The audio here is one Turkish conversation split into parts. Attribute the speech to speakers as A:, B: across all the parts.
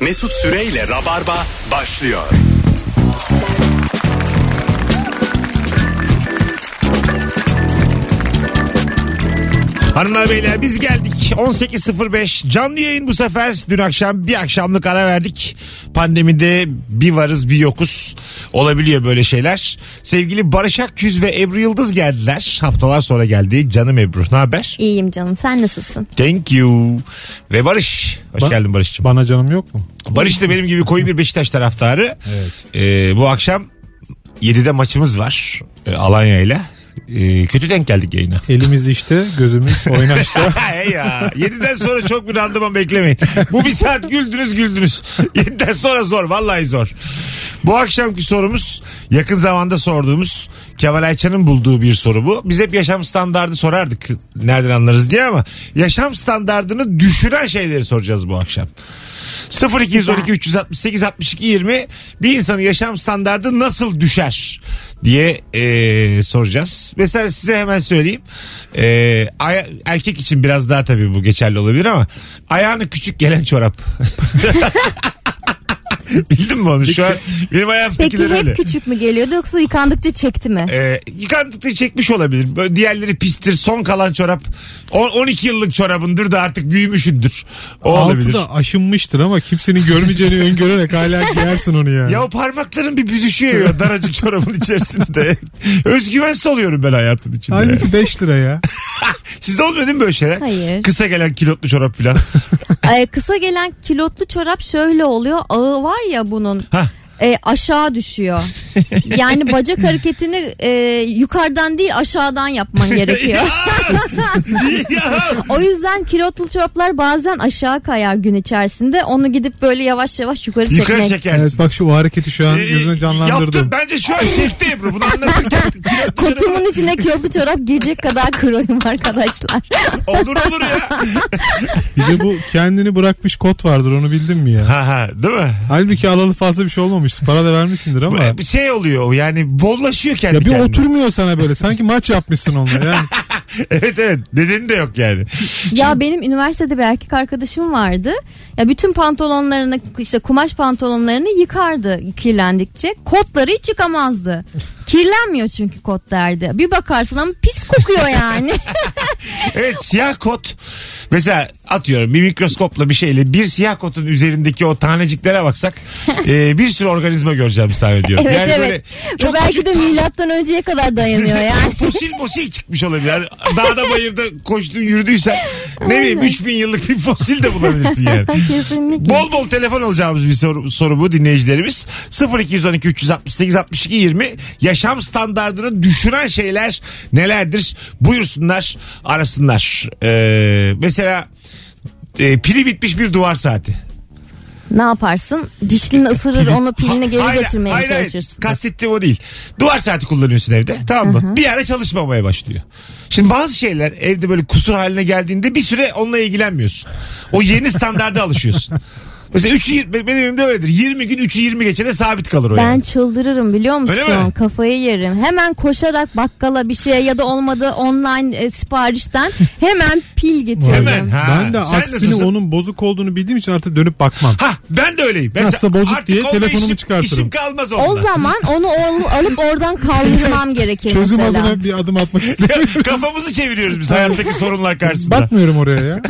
A: Mesut Süreyle Rabarba başlıyor.
B: Hanımlar beyler biz geldik 18.05 canlı yayın bu sefer dün akşam bir akşamlık ara verdik pandemide bir varız bir yokuz olabiliyor böyle şeyler sevgili Barış Akküz ve Ebru Yıldız geldiler haftalar sonra geldi canım Ebru ne haber
C: İyiyim canım sen nasılsın?
B: thank you ve Barış hoş
D: Ba-
B: geldin Barış'cığım
D: Bana canım yok mu?
B: Barış da benim gibi koyu bir Beşiktaş taraftarı
D: Evet.
B: Ee, bu akşam 7'de maçımız var e, Alanya ile Ee, kötü denk geldik yayına
D: Elimiz işte, gözümüz oynaşta.
B: Hey ya. 7'den sonra çok bir randıman beklemeyin. Bu bir saat güldünüz güldünüz. 7'den sonra zor vallahi zor. Bu akşamki sorumuz yakın zamanda sorduğumuz Kemal Ayça'nın bulduğu bir soru bu. Biz hep yaşam standardı sorardık nereden anlarız diye ama yaşam standardını düşüren şeyleri soracağız bu akşam. 0212 368 62 20 bir insanın yaşam standardı nasıl düşer diye e, soracağız. Mesela size hemen söyleyeyim. E, aya- erkek için biraz daha tabii bu geçerli olabilir ama ayağını küçük gelen çorap. Bildin mi onu? Şu an benim
C: Peki
B: ayağımdakiler
C: hep
B: öyle.
C: küçük mü geliyordu yoksa yıkandıkça çekti mi?
B: E, yıkandıkları çekmiş olabilir. Böyle diğerleri pistir. Son kalan çorap on- 12 yıllık çorabındır da artık büyümüşündür. O olabilir.
D: Altı da aşınmıştır ama kimsenin görmeyeceğini öngörerek hala giyersin onu yani.
B: Ya o parmakların bir büzüşüyor ya daracık çorabın içerisinde. Özgüvensiz oluyorum ben hayatın içinde.
D: Halbuki 5 lira ya.
B: Sizde olmuyor değil mi böyle şeyler?
C: Hayır.
B: Kısa gelen kilotlu çorap filan.
C: Ee, kısa gelen kilotlu çorap şöyle oluyor. Ağı var ya bunun.
B: Hah.
C: e, aşağı düşüyor. Yani bacak hareketini e, yukarıdan değil aşağıdan yapman gerekiyor.
B: ya,
C: o yüzden kilotlu çoraplar bazen aşağı kayar gün içerisinde. Onu gidip böyle yavaş yavaş yukarı çekmek.
B: yukarı çekersin.
D: Evet bak şu hareketi şu an
B: Ee,
D: gözüne
B: Yaptın
D: canlandırdım.
B: bence şu an çekti Ebru. Bunu anlatırken kilotlu çorap-
C: Kutumun içine kilotlu çorap girecek kadar kırıyorum arkadaşlar.
B: olur olur ya.
D: Bir de bu kendini bırakmış kot vardır onu bildin mi ya?
B: Ha ha değil mi?
D: Halbuki alalı fazla bir şey olmamıştır. Para da vermişsindir ama.
B: Bir şey oluyor o yani bollaşıyor kendi
D: Ya bir
B: kendine.
D: oturmuyor sana böyle. Sanki maç yapmışsın onunla yani.
B: Evet evet nedeni de yok yani.
C: Ya benim üniversitede bir erkek arkadaşım vardı. Ya bütün pantolonlarını işte kumaş pantolonlarını yıkardı kirlendikçe. Kotları hiç yıkamazdı. Kirlenmiyor çünkü kot derdi. Bir bakarsın ama pis kokuyor yani.
B: Evet siyah kot. Mesela atıyorum bir mikroskopla bir şeyle bir siyah kotun üzerindeki o taneciklere baksak e, bir sürü organizma göreceğimiz tahmin ediyorum.
C: evet
B: yani böyle
C: evet. Bu
B: çok
C: belki
B: küçük
C: de milattan önceye kadar dayanıyor yani.
B: fosil fosil çıkmış olabilir. Yani dağda bayırda koştun yürüdüysen ne bileyim 3000 yıllık bir fosil de bulabilirsin yani.
C: Kesinlikle.
B: Bol bol telefon alacağımız bir soru, soru bu dinleyicilerimiz. 0212 368 62 20 yaşam standartını düşüren şeyler nelerdir? Buyursunlar arasınlar. Ee, mesela e, pili bitmiş bir duvar saati.
C: Ne yaparsın? Dişlini ısırır onu pilini geri
B: Hayır,
C: getirmeye
B: hayır, hayır.
C: çalışırsın.
B: Kastettiğim o değil. Duvar saati kullanıyorsun evde tamam mı? Bir ara çalışmamaya başlıyor. Şimdi bazı şeyler evde böyle kusur haline geldiğinde bir süre onunla ilgilenmiyorsun. O yeni standarda alışıyorsun. Mesela 3 benim evimde öyledir. 20 gün 3'ü 20 geçene sabit kalır o
C: Ben
B: yani.
C: çıldırırım biliyor
B: Öyle mi?
C: musun? Kafayı yerim. Hemen koşarak bakkala bir şey ya da olmadı online e, siparişten hemen pil getiririm.
B: Hemen. Ha,
D: ben de
B: sen
D: aksini
B: nasılsın?
D: onun bozuk olduğu bildiğim için artık dönüp bakmam.
B: Ha ben de öyleyim.
D: Nasılsa bozuk
B: artık
D: diye
B: onda
D: telefonumu
B: işim,
D: çıkartırım.
B: İşim kalmaz onunla.
C: O zaman onu ol- alıp oradan kaldırmam gerekir
D: Çözüm
C: mesela.
D: adına bir adım atmak istemiyorum.
B: Kafamızı çeviriyoruz biz hayattaki sorunlar karşısında.
D: Bakmıyorum oraya ya.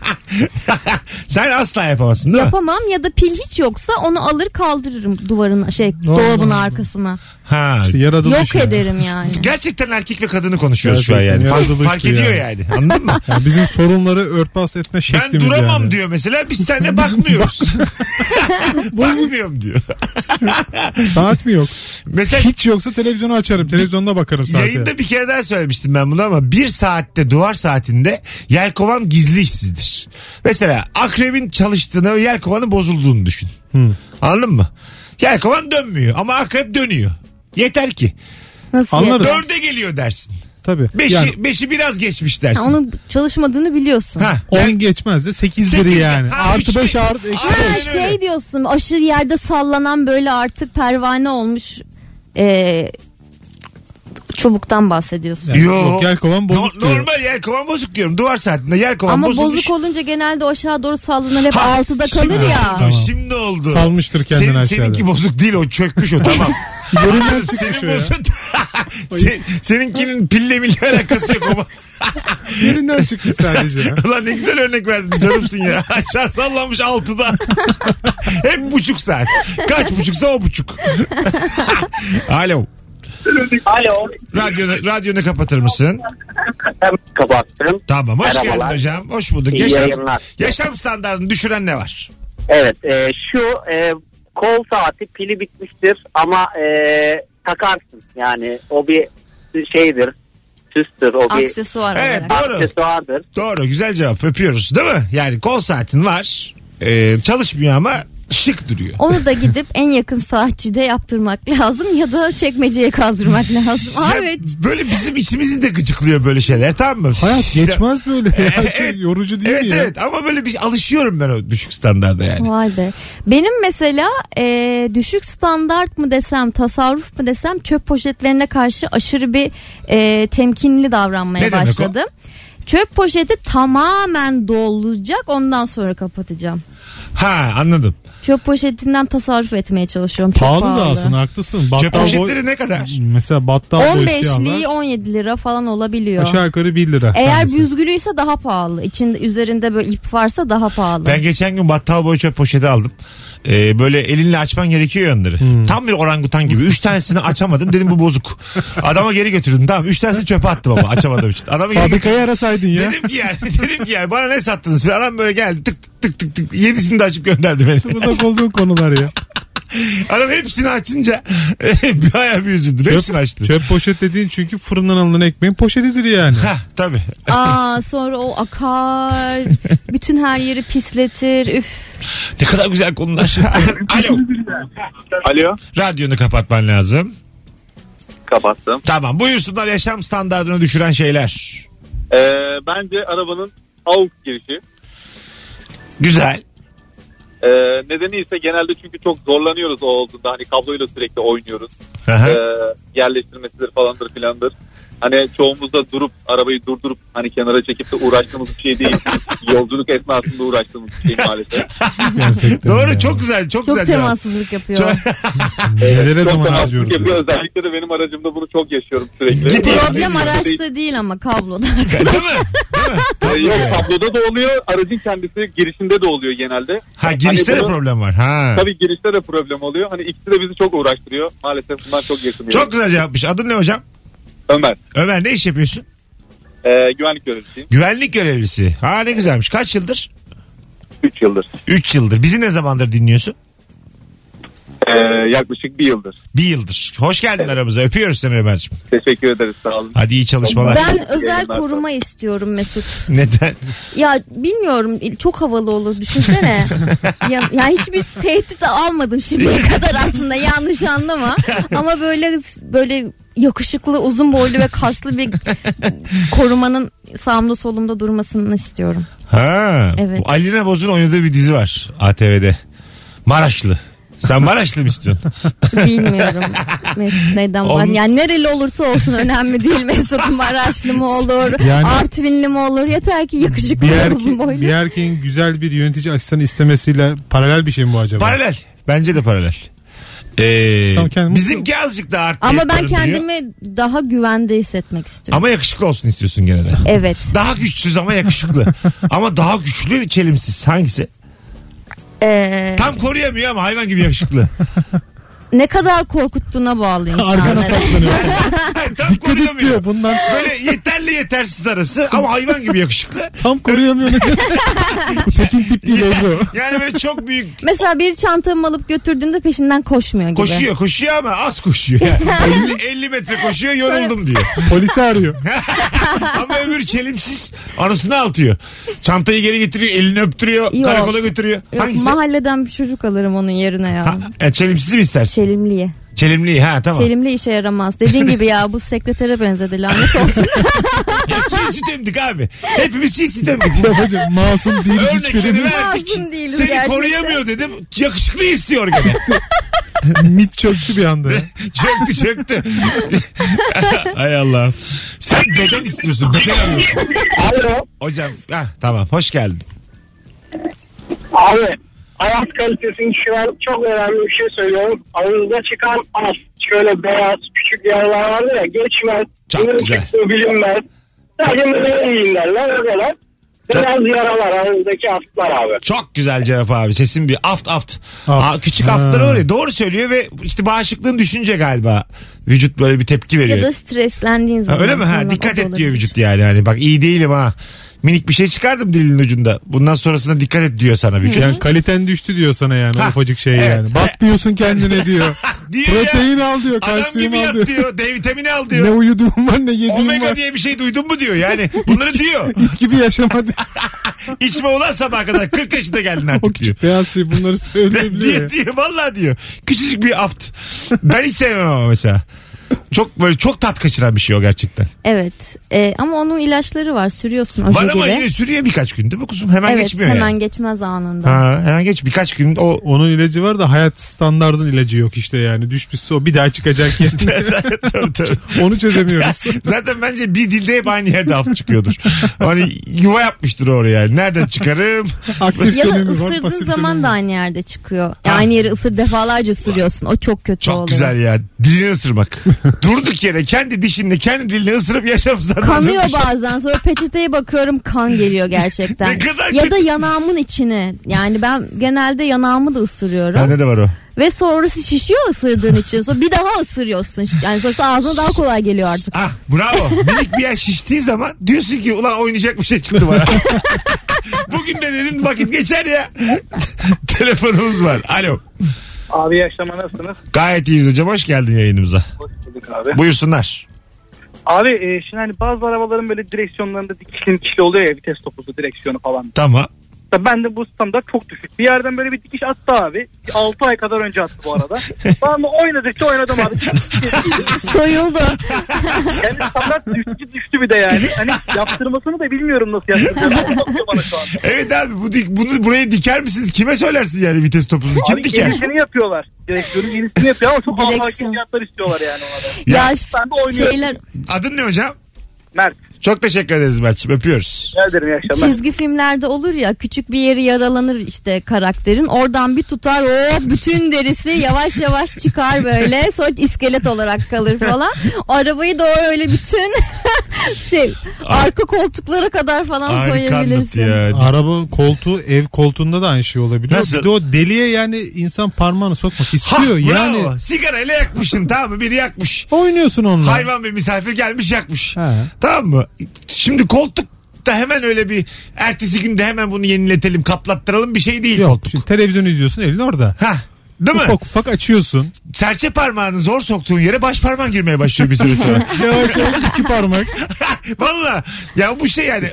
B: Sen asla yapamazsın değil mi?
C: Yapamam ya da pil hiç yoksa onu alır kaldırırım duvarın şey
D: Allah
C: dolabın
D: Allah.
C: arkasına.
B: Ha.
D: İşte yaratılış
C: Yok
D: ya.
C: ederim yani.
B: Gerçekten erkek ve kadını konuşuyoruz şu an
D: Gerçekten
B: yani. Fark,
D: yaratılış
B: fark
D: bu
B: ediyor yani.
D: yani.
B: Anladın mı?
D: Ya bizim sorunları örtbas etme şeklimiz
B: Ben duramam
D: yani.
B: diyor mesela biz seninle bakmıyoruz. Bakmıyorum diyor.
D: Saat mi yok?
B: Mesela
D: Hiç yoksa televizyonu açarım. Televizyonda bakarım saate.
B: yayında bir kere daha söylemiştim ben bunu ama bir saatte duvar saatinde yelkovan gizli işsizdir. Mesela akrebin çalıştığını ve yelkovanın bozulduğunu düşün. Anladın mı? Yelkovan dönmüyor ama akrep dönüyor. Yeter ki.
C: Nasıl
D: Anlarız.
C: yapayım?
B: Dörde geliyor dersin.
D: Tabii.
B: Beşi,
D: yani
B: beşi biraz geçmiş
C: Ha,
B: dersin.
C: Onu çalışmadığını biliyorsun.
B: Ha,
D: 10 geçmez de 8
B: Sekiz-
D: biri yani.
B: Ha, üç
D: artı 5
B: biri.
D: artı eksi
B: Ay.
D: beş.
C: Ha,
B: Aynen
C: şey
B: öyle.
C: diyorsun aşırı yerde sallanan böyle artık pervane olmuş e, çubuktan bahsediyorsun.
B: Yo.
D: Yok yel kovan bozuk
B: No-
D: diyorum.
B: normal yer kovan bozuk diyorum. Duvar saatinde yer kovan
C: Ama
B: bozulmuş.
C: bozuk olunca genelde o aşağı doğru sallanır hep
B: Ha,
C: altıda
B: şimdi
C: kalır ya.
B: Oldu, Şimdi oldu.
D: Salmıştır kendini
B: Senin,
D: aşağıda.
B: seninki bozuk değil o çökmüş o tamam.
D: Yerinden çıkmış o
B: Senin
D: ya.
B: bozuk. Sen, seninkinin pille mille alakası yok ama.
D: Yerinden çıkmış sadece. ya.
B: Ulan ne güzel örnek verdin canımsın ya. Aşağı sallanmış altıda. Hep buçuk saat. Kaç buçuksa o buçuk. Alo.
E: Alo.
B: Radyonu, radyonu kapatır mısın?
E: Hem kapattım.
B: Tamam. Hoş geldin
E: Merhabalar.
B: hocam. Hoş bulduk.
E: İyi
B: Yaşam,
E: yayınlar.
B: yaşam standartını düşüren ne var?
E: Evet e, şu e, kol saati pili bitmiştir ama e, takarsın. Yani o bir şeydir. Süstür o bir
C: Aksesuar
B: Evet,
C: olarak.
B: Doğru.
E: aksesuardır.
B: Doğru. Güzel cevap. Öpüyoruz. Değil mi? Yani kol saatin var. Ee, çalışmıyor ama şık duruyor.
C: Onu da gidip en yakın saatçide yaptırmak lazım ya da çekmeceye kaldırmak lazım.
B: Ya
C: Evet.
B: Böyle bizim içimizi de gıcıklıyor böyle şeyler tamam mı?
D: Hayat geçmez böyle ya. Çok
B: Evet.
D: yorucu değil
B: Evet
D: mi ya?
B: evet ama böyle bir alışıyorum ben o düşük standarda yani.
C: Vay be. Benim mesela e, düşük standart mı desem tasarruf mu desem çöp poşetlerine karşı aşırı bir e, temkinli davranmaya
B: Ne demek o?
C: başladım. Çöp poşeti tamamen dolacak ondan sonra kapatacağım.
B: Ha anladım.
C: Çöp poşetinden tasarruf etmeye çalışıyorum. Çok
D: Pahalı,
C: pahalı,
D: da aslında haklısın. Battal
B: Cep
D: boy-
B: poşetleri ne kadar?
D: Mesela battal boy
C: 15'liği
D: siyahlar
C: 17 lira falan olabiliyor.
D: aşağı yukarı 1 lira.
C: Eğer
D: tanesi.
C: büzgülüyse daha pahalı. İçinde üzerinde böyle ip varsa daha pahalı.
B: Ben geçen gün battal boy çöp poşeti aldım. Ee, böyle elinle açman gerekiyor yönleri.
D: Hmm.
B: Tam bir orangutan gibi. Üç tanesini açamadım. Dedim bu bozuk. Adama geri götürdüm. Tamam. Üç tanesini çöpe attım ama açamadığım için. Adamı geri götürdüm.
D: Fabrikayı arasaydın ya.
B: Dedim ki yani, dedim ki yani bana ne sattınız falan adam böyle geldi tık tık tık tık yedisini de açıp gönderdi beni.
D: Çok uzak olduğun konular ya.
B: Adam hepsini açınca bayağı bir üzüldüm. hepsini açtı.
D: çöp poşet dediğin çünkü fırından alınan ekmeğin poşetidir yani.
B: Ha tabii.
C: Aa sonra o akar. bütün her yeri pisletir. Üf.
B: Ne kadar güzel konular. Alo.
F: Alo.
B: Radyonu kapatman lazım.
F: Kapattım.
B: Tamam buyursunlar yaşam standartını düşüren şeyler.
G: E,
F: Ee, bence arabanın AUX girişi.
B: Güzel.
G: E,
F: Ee, nedeni ise genelde çünkü çok zorlanıyoruz o olduğunda. Hani kabloyla sürekli oynuyoruz.
B: Aha.
F: Ee, yerleştirmesidir falandır filandır. Hani çoğumuz da durup arabayı durdurup hani kenara çekip de uğraştığımız bir şey değil. Yolculuk esnasında uğraştığımız bir şey maalesef.
D: Gerçekten
B: Doğru
D: ya.
B: çok güzel çok,
C: Çok
B: güzel. cevap.
C: temassızlık yapıyor.
D: Nelere
F: çok
D: Ee, zaman
F: da haksızlık
D: harcıyoruz. ya.
F: yapıyor. Özellikle de benim aracımda bunu çok yaşıyorum sürekli.
B: Gidiyor.
C: Problem araçta değil ama kabloda.
B: Değil mi? Değil mi?
F: Ee, Yok tabloda da oluyor. Aracın kendisi girişinde de oluyor genelde.
B: Ha girişte
F: Hani
B: de
F: bunu-
B: problem var. Ha.
F: Tabii girişte de problem oluyor. Hani ikisi de bizi çok uğraştırıyor. Maalesef bunlar çok yakınıyor.
B: Çok güzel cevapmış. Adın ne hocam?
F: Ömer.
B: Ömer ne iş yapıyorsun?
F: E, güvenlik görevlisiyim.
B: Güvenlik görevlisi. Ha ne güzelmiş. Kaç yıldır?
F: 3 yıldır.
B: 3 yıldır. Bizi ne zamandır dinliyorsun?
F: E,
H: Ee,
F: yaklaşık bir yıldır.
B: Bir yıldır. Hoş geldin aramıza. Öpüyoruz seni Ömer'ciğim.
F: Teşekkür ederiz sağ olun.
B: Hadi iyi çalışmalar.
C: ben özel koruma istiyorum Mesut.
B: Neden?
C: Ya bilmiyorum çok havalı olur düşünsene. ya, ya hiçbir tehdit almadım şimdiye kadar aslında yanlış anlama. Ama böyle böyle yakışıklı, uzun boylu ve kaslı bir korumanın sağımda solumda durmasını istiyorum.
B: Ha.
C: Evet.
B: Bu Alina Boz'un oynadığı bir dizi var ATV'de. Maraşlı. Sen Maraşlı mı istiyorsun?
C: Bilmiyorum Mesut neden var.
B: Onun-
C: Yani nereli olursa olsun önemli değil Mesut. Maraşlı mı olur,
D: Yani-
C: Artvinli mi olur yeter ki yakışıklı,
D: Bir,
C: uzun boylu.
D: erke- bir erkeğin güzel bir yönetici asistanı istemesiyle paralel bir şey mi bu acaba?
B: paralel. Bence de paralel. Ee,
D: Sen kendin-
B: bizimki azıcık daha artı.
C: Ama ben
B: parılıyor.
C: kendimi daha güvende hissetmek istiyorum.
B: Ama yakışıklı olsun istiyorsun gene de.
C: Evet.
B: Daha güçsüz ama yakışıklı. ama daha güçlü çelimsiz. Hangisi?
C: Ee,
B: Tam koruyamıyor ama hayvan gibi yakışıklı.
C: ne kadar korkuttuğuna bağlı
D: Arkana
C: insanları.
D: saklanıyor.
B: Hayır, tam
D: Gıdık diyor
B: koruyamıyor.
D: bundan.
B: Böyle yeterli yetersiz arası ama hayvan gibi yakışıklı.
D: Tam koruyamıyor. Bu Tekin tip değil Ebru.
B: Yani böyle çok büyük
C: Mesela biri çantamı alıp götürdüğünde peşinden koşmuyor gibi.
B: Koşuyor koşuyor ama az koşuyor. Yani 50, 50 metre koşuyor yoruldum diyor.
D: Polisi arıyor.
B: Ama öbür çelimsiz anasını altıyor. Çantayı geri getiriyor elini öptürüyor
C: Yok.
B: karakola götürüyor.
C: Yok,
B: Hangisi?
C: mahalleden bir çocuk alırım onun yerine ya.
B: Ha, e, çelimsizi mi istersin?
C: Çelimliye.
B: Çelimliyi ha tamam. Çelim.
C: Çelimli işe yaramaz. Dediğin gibi ya bu sekretere benzedi lanet olsun.
B: Çiğsi temdik abi. Hepimiz çiğsi temdik.
D: Yapacak. Masum değiliz
B: Örnekleri
D: hiçbirimiz.
B: verdik.
C: Masum değiliz
B: Seni
C: gerçekten.
B: koruyamıyor dedim. Yakışıklı istiyor gene.
D: Mit çöktü bir anda. ya.
B: Çöktü çöktü. Ay Allah. Sen beden istiyorsun. Beden arıyorsun.
E: Alo.
B: Hocam ah, tamam hoş geldin.
E: Abi hayat kalitesini şu an çok önemli bir şey söylüyorum. Ağızda çıkan az. Şöyle beyaz küçük yaralar vardır ya geçmez.
B: Çok
E: bunun
B: güzel.
E: çıktığı bilinmez. Sadece neden iyiyim derler öyleler. Beyaz yaralar ağızdaki aslar abi.
B: Çok güzel cevap abi. Sesin bir aft aft.
D: Aft.
B: Aa, küçük
D: Ha.
B: aftları var ya doğru söylüyor ve işte bağışıklığın düşünce galiba. Vücut böyle bir tepki veriyor.
C: Ya da streslendiğin
B: Ha,
C: zaman.
B: öyle mi? Ha,
C: Bilmem, o
B: dikkat
C: da
B: et diyor
C: olabilir.
B: vücut yani. Hani bak iyi değilim ha. Minik bir şey çıkardım dilin ucunda. Bundan sonrasında dikkat et diyor sana vücut.
D: Yani kaliten düştü diyor sana yani
B: Ha,
D: ufacık şey
B: evet.
D: yani. Bakmıyorsun kendine diyor.
B: Diyor ya,
D: Protein al diyor,
B: Adam
D: kalsiyum
B: gibi yat
D: al diyor.
B: diyor. D vitamini al
D: Ne
B: diyor.
D: uyuduğum var ne yediğim
B: Omega
D: var.
B: diye bir şey duydun mu diyor. Yani bunları diyor.
D: İt gibi yaşamadı.
B: İçme ulan sabaha kadar. 40 yaşında geldin
D: o
B: artık diyor.
D: küçük beyaz şey bunları söyleyebiliyor. ya.
B: diye, diye vallahi diyor. Küçücük bir aft. Ben hiç sevmem ama mesela. Çok böyle çok tat kaçıran bir şey o gerçekten.
C: Evet. Ee, ama onun ilaçları var. Sürüyorsun o
B: Var ama
C: jeliyle.
B: yine sürüyor birkaç gün değil mi kuzum? Hemen
C: Evet
B: geçmiyor
C: hemen
B: yani.
C: geçmez anında.
B: Ha, hemen geç birkaç gün o
D: Onun ilacı var da hayat standardın ilacı yok işte yani. Düşmüşse o bir daha çıkacak yani.
B: Tabii, tabii.
D: Onu çözemiyoruz.
B: Zaten bence bir dilde hep aynı yerde alt çıkıyordur. Hani yuva yapmıştır oraya yani. Nereden çıkarım?
D: Aktif
C: Ya da
D: dönemi var,
C: ısırdığın
D: pasif
C: zaman
D: dönemi
C: da
D: var.
C: aynı yerde çıkıyor. Yani aynı yeri ısır defalarca sürüyorsun. O çok kötü
B: Çok
C: oluyor.
B: güzel ya. Dilini ısırmak. Durduk yere kendi dişinle kendi dilini ısırıp yaşamsın.
C: Kanıyor bazen sonra peçeteye bakıyorum kan geliyor gerçekten.
B: Ne kadar
C: ya
B: kötü.
C: da yanağımın içine. Yani ben genelde yanağımı da ısırıyorum.
B: Bende de var o.
C: Ve sonrası şişiyor ısırdığın için. Sonra bir daha ısırıyorsun. Yani sonuçta ağzına daha kolay geliyor artık.
B: Ah bravo. Minik bir yer şiştiği zaman diyorsun ki ulan oynayacak bir şey çıktı bana. Bugün de dedin vakit geçer ya. Telefonumuz var. Alo.
E: Abi yaşlama nasılsınız?
B: Gayet iyiyiz hocam. Hoş geldin yayınımıza.
E: Hoş bulduk abi.
B: Buyursunlar.
E: Abi e, şimdi hani bazı arabaların böyle direksiyonlarında dikişli dikişli oluyor ya vites topuzu direksiyonu falan.
B: Tamam.
E: Tabii ben de bu standart çok düşük. Bir yerden böyle bir dikiş attı abi. 6 ay kadar önce attı bu arada. Tamam mı oynadıkça oynadım abi.
C: Soyuldu.
E: Yani standart düştü düştü bir de yani. Hani yaptırmasını da bilmiyorum nasıl yaptıracağını. Bakıyor bana şu an.
B: Evet abi bu dik, bunu buraya diker misiniz? Kime söylersin yani vites topunuzu? Kim
E: Abi
B: diker?
E: yenisini yapıyorlar. Direktörün yenisini yapıyor ama çok havalı
C: Direksiyon.
E: fiyatlar istiyorlar yani ona
C: ya,
E: Ben de oynuyorum.
C: şeyler
B: Adın ne hocam?
E: Mert
B: Çok teşekkür ederiz Mert'ciğim. Öpüyoruz.
E: rica ederim iyi akşamlar.
C: çizgi filmlerde olur ya küçük bir yeri yaralanır işte karakterin. Oradan bir tutar o bütün derisi yavaş yavaş çıkar böyle. Sonra iskelet olarak kalır falan. Arabayı da o öyle bütün şey arka koltuklara kadar falan
B: Harika anlattı
C: soyabilirsin.
B: ya.
D: Araba koltuğu ev koltuğunda da aynı şey olabiliyor.
B: Nasıl?
D: Bir de o deliğe yani insan parmağını sokmak
B: Ha,
D: istiyor. yani
B: bravo. Sigarayla yakmışsın tamam mı? Biri yakmış.
D: oynuyorsun onunla.
B: Hayvan bir misafir gelmiş yakmış.
D: Ha.
B: Tamam mı? Şimdi koltuk da hemen öyle bir ertesi günde hemen bunu yeniletelim kaplattıralım bir şey değil
D: Yok
B: koltuk.
D: şimdi televizyon izliyorsun elin orada.
B: Ha. Değil mi?
D: Ufak ufak açıyorsun.
B: Serçe parmağını zor soktuğun yere baş parmağın girmeye başlıyor bir süre sonra.
D: Yavaş yavaş iki parmak.
B: Valla ya bu şey yani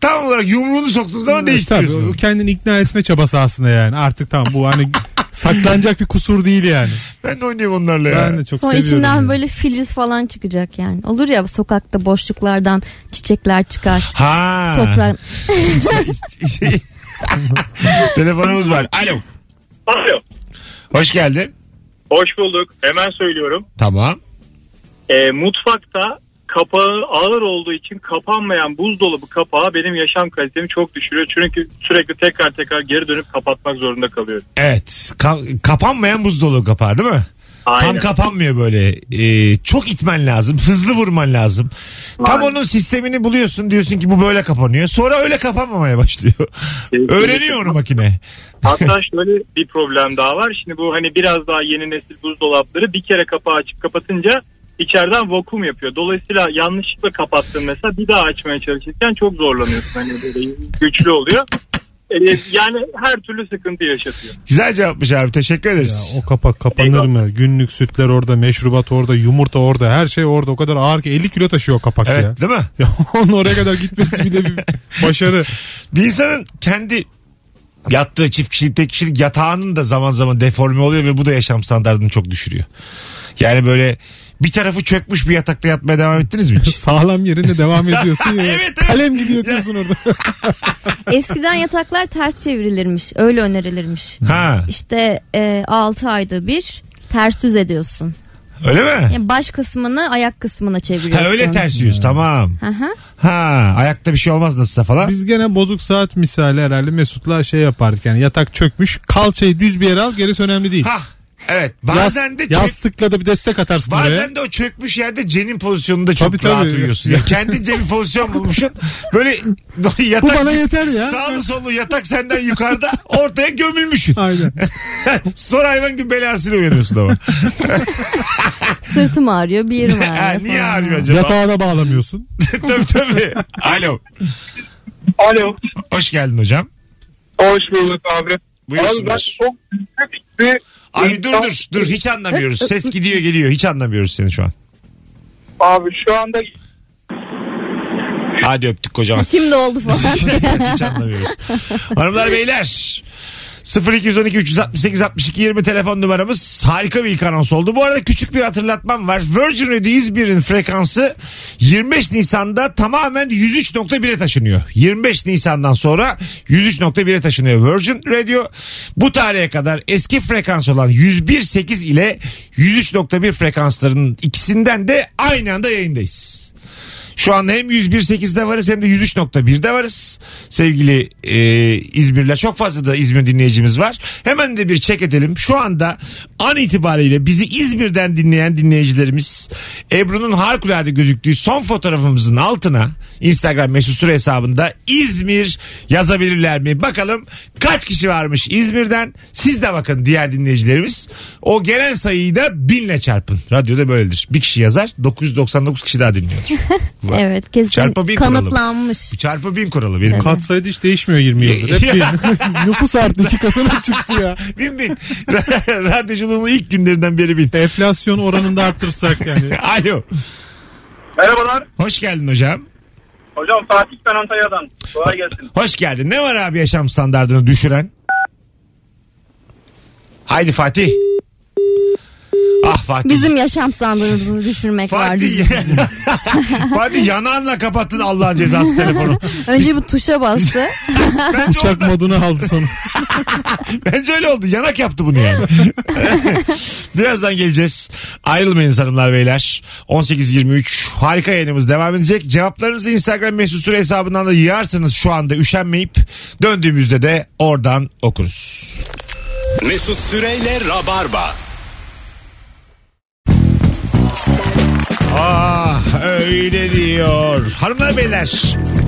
B: tam olarak yumruğunu soktuğun zaman değiştiriyorsun.
D: Tabii o kendini ikna etme çabası aslında yani. Artık tamam bu hani saklanacak bir kusur değil yani.
B: Ben de oynuyorum onlarla ya.
D: Ben de çok
C: Sonra
D: seviyorum.
C: içinden
D: yani.
C: böyle filiz falan çıkacak yani. Olur ya sokakta boşluklardan çiçekler çıkar.
B: Ha.
C: Toprak.
B: Telefonumuz var. Alo.
G: Alo.
B: Hoş geldin.
G: Hoş bulduk. Hemen söylüyorum.
B: Tamam.
G: Ee, mutfakta kapağı ağır olduğu için kapanmayan buzdolabı kapağı benim yaşam kalitemi çok düşürüyor. Çünkü sürekli tekrar tekrar geri dönüp kapatmak zorunda kalıyorum.
B: Evet. Ka- kapanmayan buzdolabı kapağı değil mi?
G: Aynen.
B: Tam kapanmıyor böyle. Ee, çok itmen lazım. Hızlı vurman lazım. Tam onun sistemini buluyorsun. Diyorsun ki bu böyle kapanıyor. Sonra öyle kapanmamaya başlıyor.
G: Kesinlikle.
B: Öğreniyor onu makine.
G: Hatta şöyle bir problem daha var. Şimdi bu hani biraz daha yeni nesil buzdolapları bir kere kapağı açıp kapatınca içeriden vakum yapıyor. Dolayısıyla yanlışlıkla kapattın mesela bir daha açmaya çalışırken çok zorlanıyorsun. Hani böyle güçlü oluyor. Ee, Yani her türlü sıkıntı yaşatıyor.
B: Güzel cevapmış abi. Teşekkür
D: Ya
B: ederiz.
D: o kapak kapanır mı? Günlük sütler orada, meşrubat orada, yumurta orada, her şey orada. O kadar ağır ki 50 kilo taşıyor o kapak
B: Evet
D: ya.
B: değil mi?
D: Ya onun oraya kadar gitmesi bile bir başarı.
B: Bir insanın kendi yattığı çift kişilik tek kişilik yatağının da zaman zaman deforme oluyor ve bu da yaşam standartını çok düşürüyor. Yani böyle bir tarafı çökmüş bir yatakta yatmaya devam ettiniz mi hiç?
D: Sağlam yerinde devam ediyorsun ya.
B: Evet, evet.
D: Kalem gibi yatıyorsun orada.
C: Eskiden yataklar ters çevrilirmiş. Öyle önerilirmiş.
B: ha.
C: İşte e, 6 ayda bir ters düz ediyorsun.
B: Öyle mi?
C: Yani E, baş kısmını ayak kısmına
B: Ha,
C: çeviriyorsun.
B: öyle ters yüz tamam.
C: Hı hı.
B: Ha ayakta bir şey olmaz nasılsa falan.
D: Biz gene bozuk saat misali herhalde Mesut'la şey yapardık yani yatak çökmüş kalçayı düz bir yere al gerisi önemli değil.
B: Ha evet
D: Yas-
B: bazen de çök-
D: yastıkla da bir destek atarsın oraya.
B: Bazen de o çökmüş yerde cenin pozisyonunda çok
D: Tabii,
B: rahat
D: tabii.
B: uyuyorsun. Ya kendince bir pozisyon bulmuşsun. Böyle
D: Bu
B: yatak
D: bana yeter ya.
B: sağlı sollu yatak senden yukarıda ortaya gömülmüşsün.
D: Aynen.
B: Sonra hayvan gibi belasıyla uyanıyorsun ama.
C: Sırtım ağrıyor bir yerim ağrıyor.
B: Ha, niye
C: falan.
B: ağrıyor acaba?
D: Yatağa da bağlamıyorsun.
B: tabii tabii. Alo.
H: Alo.
B: Hoş geldin hocam.
H: Hoş bulduk abi. Abi ben
B: Buyursunlar.
H: çok büyük bir...
B: Abi dur dur dur hiç anlamıyoruz. Ses gidiyor geliyor hiç anlamıyoruz seni şu an.
H: Abi şu anda
B: Hadi öptük kocaman.
C: Ha, E, Şimdi oldu falan.
B: Hiç anlamıyoruz. Hanımlar beyler 0212 368 62 20 telefon numaramız harika bir ilk anons oldu. Bu arada küçük bir hatırlatmam var. Virgin Radio İzmir'in frekansı 25 Nisan'da tamamen 103.1'e taşınıyor. 25 Nisan'dan sonra 103.1'e taşınıyor Virgin Radio. Bu tarihe kadar eski frekans olan 101.8 ile 103.1 frekanslarının ikisinden de aynı anda yayındayız. Şu anda hem 101.8'de varız hem de 103.1'de varız. Sevgili e, İzmirliler çok fazla da İzmir dinleyicimiz var. Hemen de bir çek edelim. Şu anda an itibariyle bizi İzmir'den dinleyen dinleyicilerimiz Ebru'nun harikulade gözüktüğü son fotoğrafımızın altına Instagram mesut süre hesabında İzmir yazabilirler mi? Bakalım kaç kişi varmış İzmir'den. Siz de bakın diğer dinleyicilerimiz. O gelen sayıyı da binle çarpın. Radyoda böyledir. Bir kişi yazar 999 kişi daha dinliyor.
C: evet kesin
B: Çarpı bir kuralım.
C: kanıtlanmış.
B: Çarpı bin kuralı benim.
D: Kat sayısı hiç değişmiyor 20 yıldır. Hep bir- nüfus artı iki katına çıktı ya.
B: Bin bin. Radyoculuğun ilk günlerinden beri bin.
D: Enflasyon oranını da arttırsak yani.
B: Alo.
H: Merhabalar.
B: Hoş geldin hocam.
H: Hocam Fatih ben Antalya'dan. Kolay gelsin.
B: Hoş geldin. Ne var abi yaşam standartını düşüren? Haydi Fatih. Ah Fatih.
C: Bizim yaşam standartımızı düşürmek var
B: Fatih.
C: bizim.
B: Fatih yanağınla kapattın Allah'ın cezası telefonu.
C: Önce bir tuşa bastı.
B: Bence,
D: Uçak
B: orada-
D: modunu aldı sonra.
B: bence öyle oldu. Yanak yaptı bunu yani. Birazdan geleceğiz. Ayrılmayın hanımlar beyler. 18.23 harika yayınımız devam edecek. Cevaplarınızı Instagram mesut süre hesabından da yığarsınız şu anda üşenmeyip. Döndüğümüzde de oradan okuruz.
A: Mesut Süreyle Rabarba.
B: Ah öyle diyor. Hanımlar beyler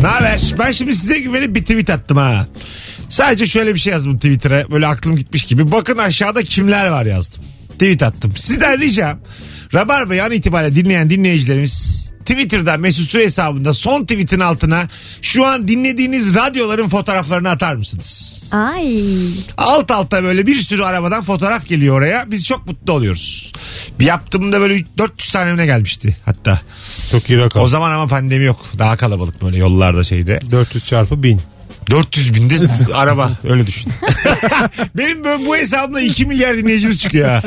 B: ne haber? Ben şimdi size güvenip bir tweet attım ha. Sadece şöyle bir şey yazdım Twitter'a. Böyle aklım gitmiş gibi. Bakın aşağıda kimler var yazdım. Tweet attım. Sizden ricam. Rabarba'yı an itibariyle dinleyen dinleyicilerimiz Twitter'da Mesut Süre hesabında son tweetin altına şu an dinlediğiniz radyoların fotoğraflarını atar mısınız?
C: Ay.
B: Alt alta böyle bir sürü arabadan fotoğraf geliyor oraya. Biz çok mutlu oluyoruz. Bir yaptığımda böyle 400 tane öne gelmişti hatta.
D: Çok iyi rakam.
B: O zaman ama pandemi yok. Daha kalabalık böyle yollarda şeyde.
D: 400 çarpı 1000.
B: 400 binde araba öyle düşün. Benim böyle bu hesabımda 2 milyar dinleyicimiz çıkıyor ha.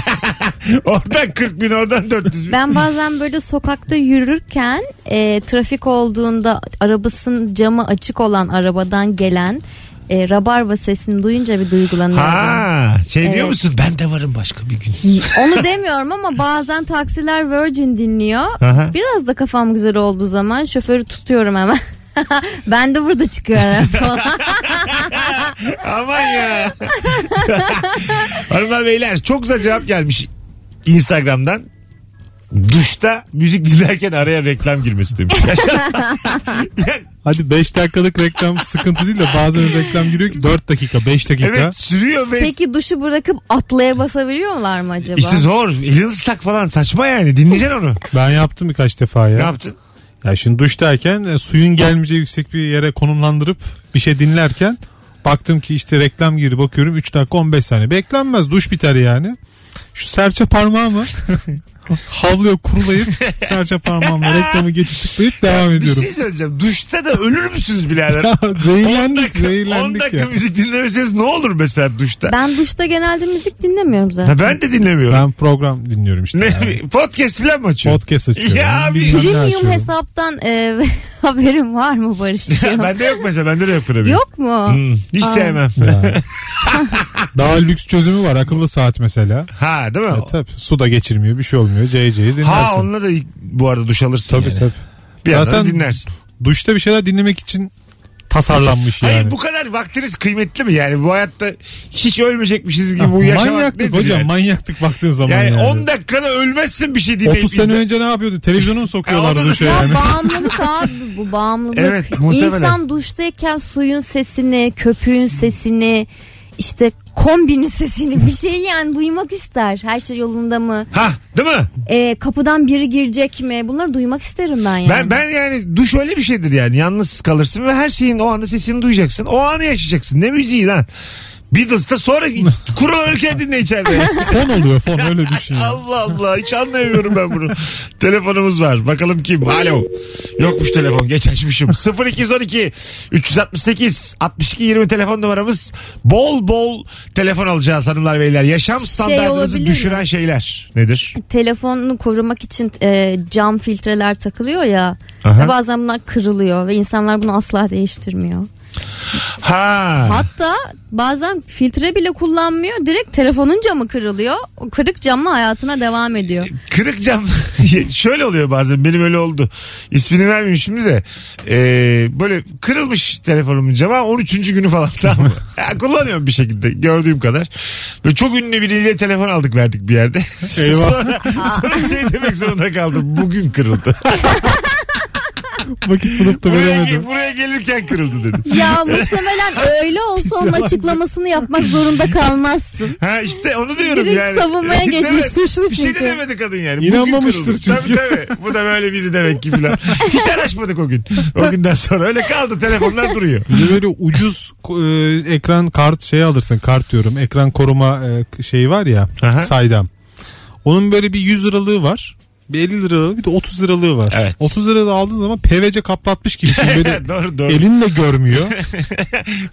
B: oradan 40 bin oradan 400 bin.
C: Ben bazen böyle sokakta yürürken e, trafik olduğunda arabasının camı açık olan arabadan gelen e, rabarba sesini duyunca bir duygulanıyorum.
B: Ha, şey diyor
C: Evet.
B: musun ben de varım başka bir gün.
C: Onu demiyorum ama bazen taksiler Virgin dinliyor.
B: Aha.
C: Biraz da kafam güzel olduğu zaman şoförü tutuyorum hemen. ben de burada çıkıyorum falan.
B: Aman ya. Hanımlar beyler çok güzel cevap gelmiş Instagram'dan. Duşta müzik dinlerken araya reklam girmesi demiş.
D: Hadi 5 dakikalık reklam sıkıntı değil de bazen reklam giriyor ki 4 dakika 5 dakika.
B: evet sürüyor ve
C: Peki duşu bırakıp atlaya basabiliyorlar mı acaba?
B: işte zor. Elin ıslak falan saçma yani. Dinleyeceksin onu.
D: Ben yaptım birkaç defa
B: ne
D: ya.
B: yaptın?
D: Ya şimdi duştayken e, suyun gelmeyeceği yüksek bir yere konumlandırıp bir şey dinlerken baktım ki işte reklam girdi bakıyorum 3 dakika 15 saniye. Beklenmez duş biter yani. Şu serçe parmağımı havluya kurulayıp serçe parmağımla reklamı geçip tıklayıp devam
B: Bir
D: ediyorum.
B: şey söyleyeceğim. Duşta da ölür müsünüz birader?
D: Ya,
B: On
D: zehirlendik
B: dakika, on
D: zehirlendik
B: dakika
D: ya.
B: müzik dinlemeseniz ne olur mesela duşta? Ben,
C: Ben duşta genelde müzik dinlemiyorum zaten.
B: ha, ben de dinlemiyorum.
D: Ben program dinliyorum işte.
B: ne,
D: yani.
B: podcast falan mı açıyorsun?
D: Podcast açıyorum.
B: Ya abi.
D: bilmem ne
C: Premium
D: açıyorum.
C: hesaptan e, haberin var mı Barış'cığım?
B: bende yok mesela bende de yok böyle bir.
C: Yok mu?
B: Hmm, hiç
C: Aa.
B: sevmem.
D: Ya. Daha lüks çözümü var akıllı saat mesela.
B: Ha değil mi?
D: E, tabii su da geçirmiyor bir şey olmuyor. CC'yi dinlersin.
B: ha onunla da bu arada duş alırsın.
D: tabii
B: yani.
D: tabii.
B: Bir yandan
D: Zaten-
B: dinlersin.
D: Duşta bir şeyler dinlemek için tasarlanmış yani.
B: Hayır bu kadar vaktiniz kıymetli mi yani? Bu hayatta hiç ölmeyecekmişiz gibi bu yaşamak
D: manyaklık
B: nedir
D: Ah, hocam
B: yani?
D: manyaklık baktığın zaman
B: Yani
D: yani.
B: 10 dakikada ölmezsin bir şey dinleyip
D: 30 sene
B: izle-
D: önce ne yapıyordu? Televizyonu mu
B: E,
D: sokuyorlardı
B: onu da-
D: duşa
C: Ya
D: yani?
C: bağımlılık abi bu bağımlılık.
B: Evet, muhtemelen.
C: İnsan duştayken suyun sesini, köpüğün sesini, işte kombinin sesini bir şey yani duymak ister. Her şey yolunda mı?
B: Ha değil mi?
C: E, kapıdan biri girecek mi? Bunları duymak isterim ben yani.
B: Ben ben yani duş öyle bir şeydir yani. Yalnız kalırsın ve her şeyin o anda sesini duyacaksın. O anı yaşayacaksın. Ne müziği lan? Beatles'ta sonra kurulanırken dinle içeride.
D: fon oluyor fon öyle düşün. ya.
B: Allah Allah hiç anlayamıyorum ben bunu. Telefonumuz var. Bakalım kim? Alo. Yokmuş telefon. Geç açmışım. 0212 368 62 20 telefon numaramız. Bol bol telefon alacağız hanımlar beyler. Yaşam
C: Şey
B: standartınızı
C: olabilir mi?
B: düşüren şeyler nedir?
C: Telefonunu korumak için e, cam filtreler takılıyor ya.
B: Aha.
C: Ve bazen bunlar kırılıyor ve insanlar bunu asla değiştirmiyor.
B: Ha.
C: Hatta bazen filtre bile kullanmıyor. Direkt telefonun camı kırılıyor. O kırık camla hayatına devam ediyor.
B: Kırık cam şöyle oluyor bazen benim öyle oldu. İsmini vermeyeyim şimdi de. Ee, böyle kırılmış telefonumun camı 13. günü falan tamam mı? Ya, kullanıyorum bir şekilde gördüğüm kadar. Böyle çok ünlü biriyle telefon aldık verdik bir yerde.
D: Eyvah.
B: sonra, sonra şey demek zorunda kaldım. Bugün kırıldı.
D: Vakit bulup da
B: buraya,
D: veremedim.
B: ge- buraya gelirken kırıldı dedim.
C: Ya muhtemelen öyle olsa onun açıklamasını yapmak zorunda kalmazsın.
B: Ha işte onu diyorum
C: Direkt
B: yani.
C: savunmaya
B: Değil mi?
C: geçmiş, suçlu
B: Bir şey de
C: çünkü.
B: demedi kadın yani. Bugün
D: İnanmamıştır
B: kırıldı.
D: çünkü.
B: Tabii tabii. Bu da böyle bizi demek ki filan. Hiç araşmadık o gün. O günden sonra öyle kaldı telefonlar duruyor.
D: Bir de böyle ucuz e, ekran kart şey alırsın kart diyorum ekran koruma e, şeyi var ya
B: Aha.
D: saydam. Onun böyle bir 100 liralığı var. Bir 50 liralığı bir de 30 liralığı var.
B: Evet.
D: 30 liralığı aldığın zaman PVC kaplatmış gibisin. Böyle
B: doğru doğru.
D: elin de görmüyor.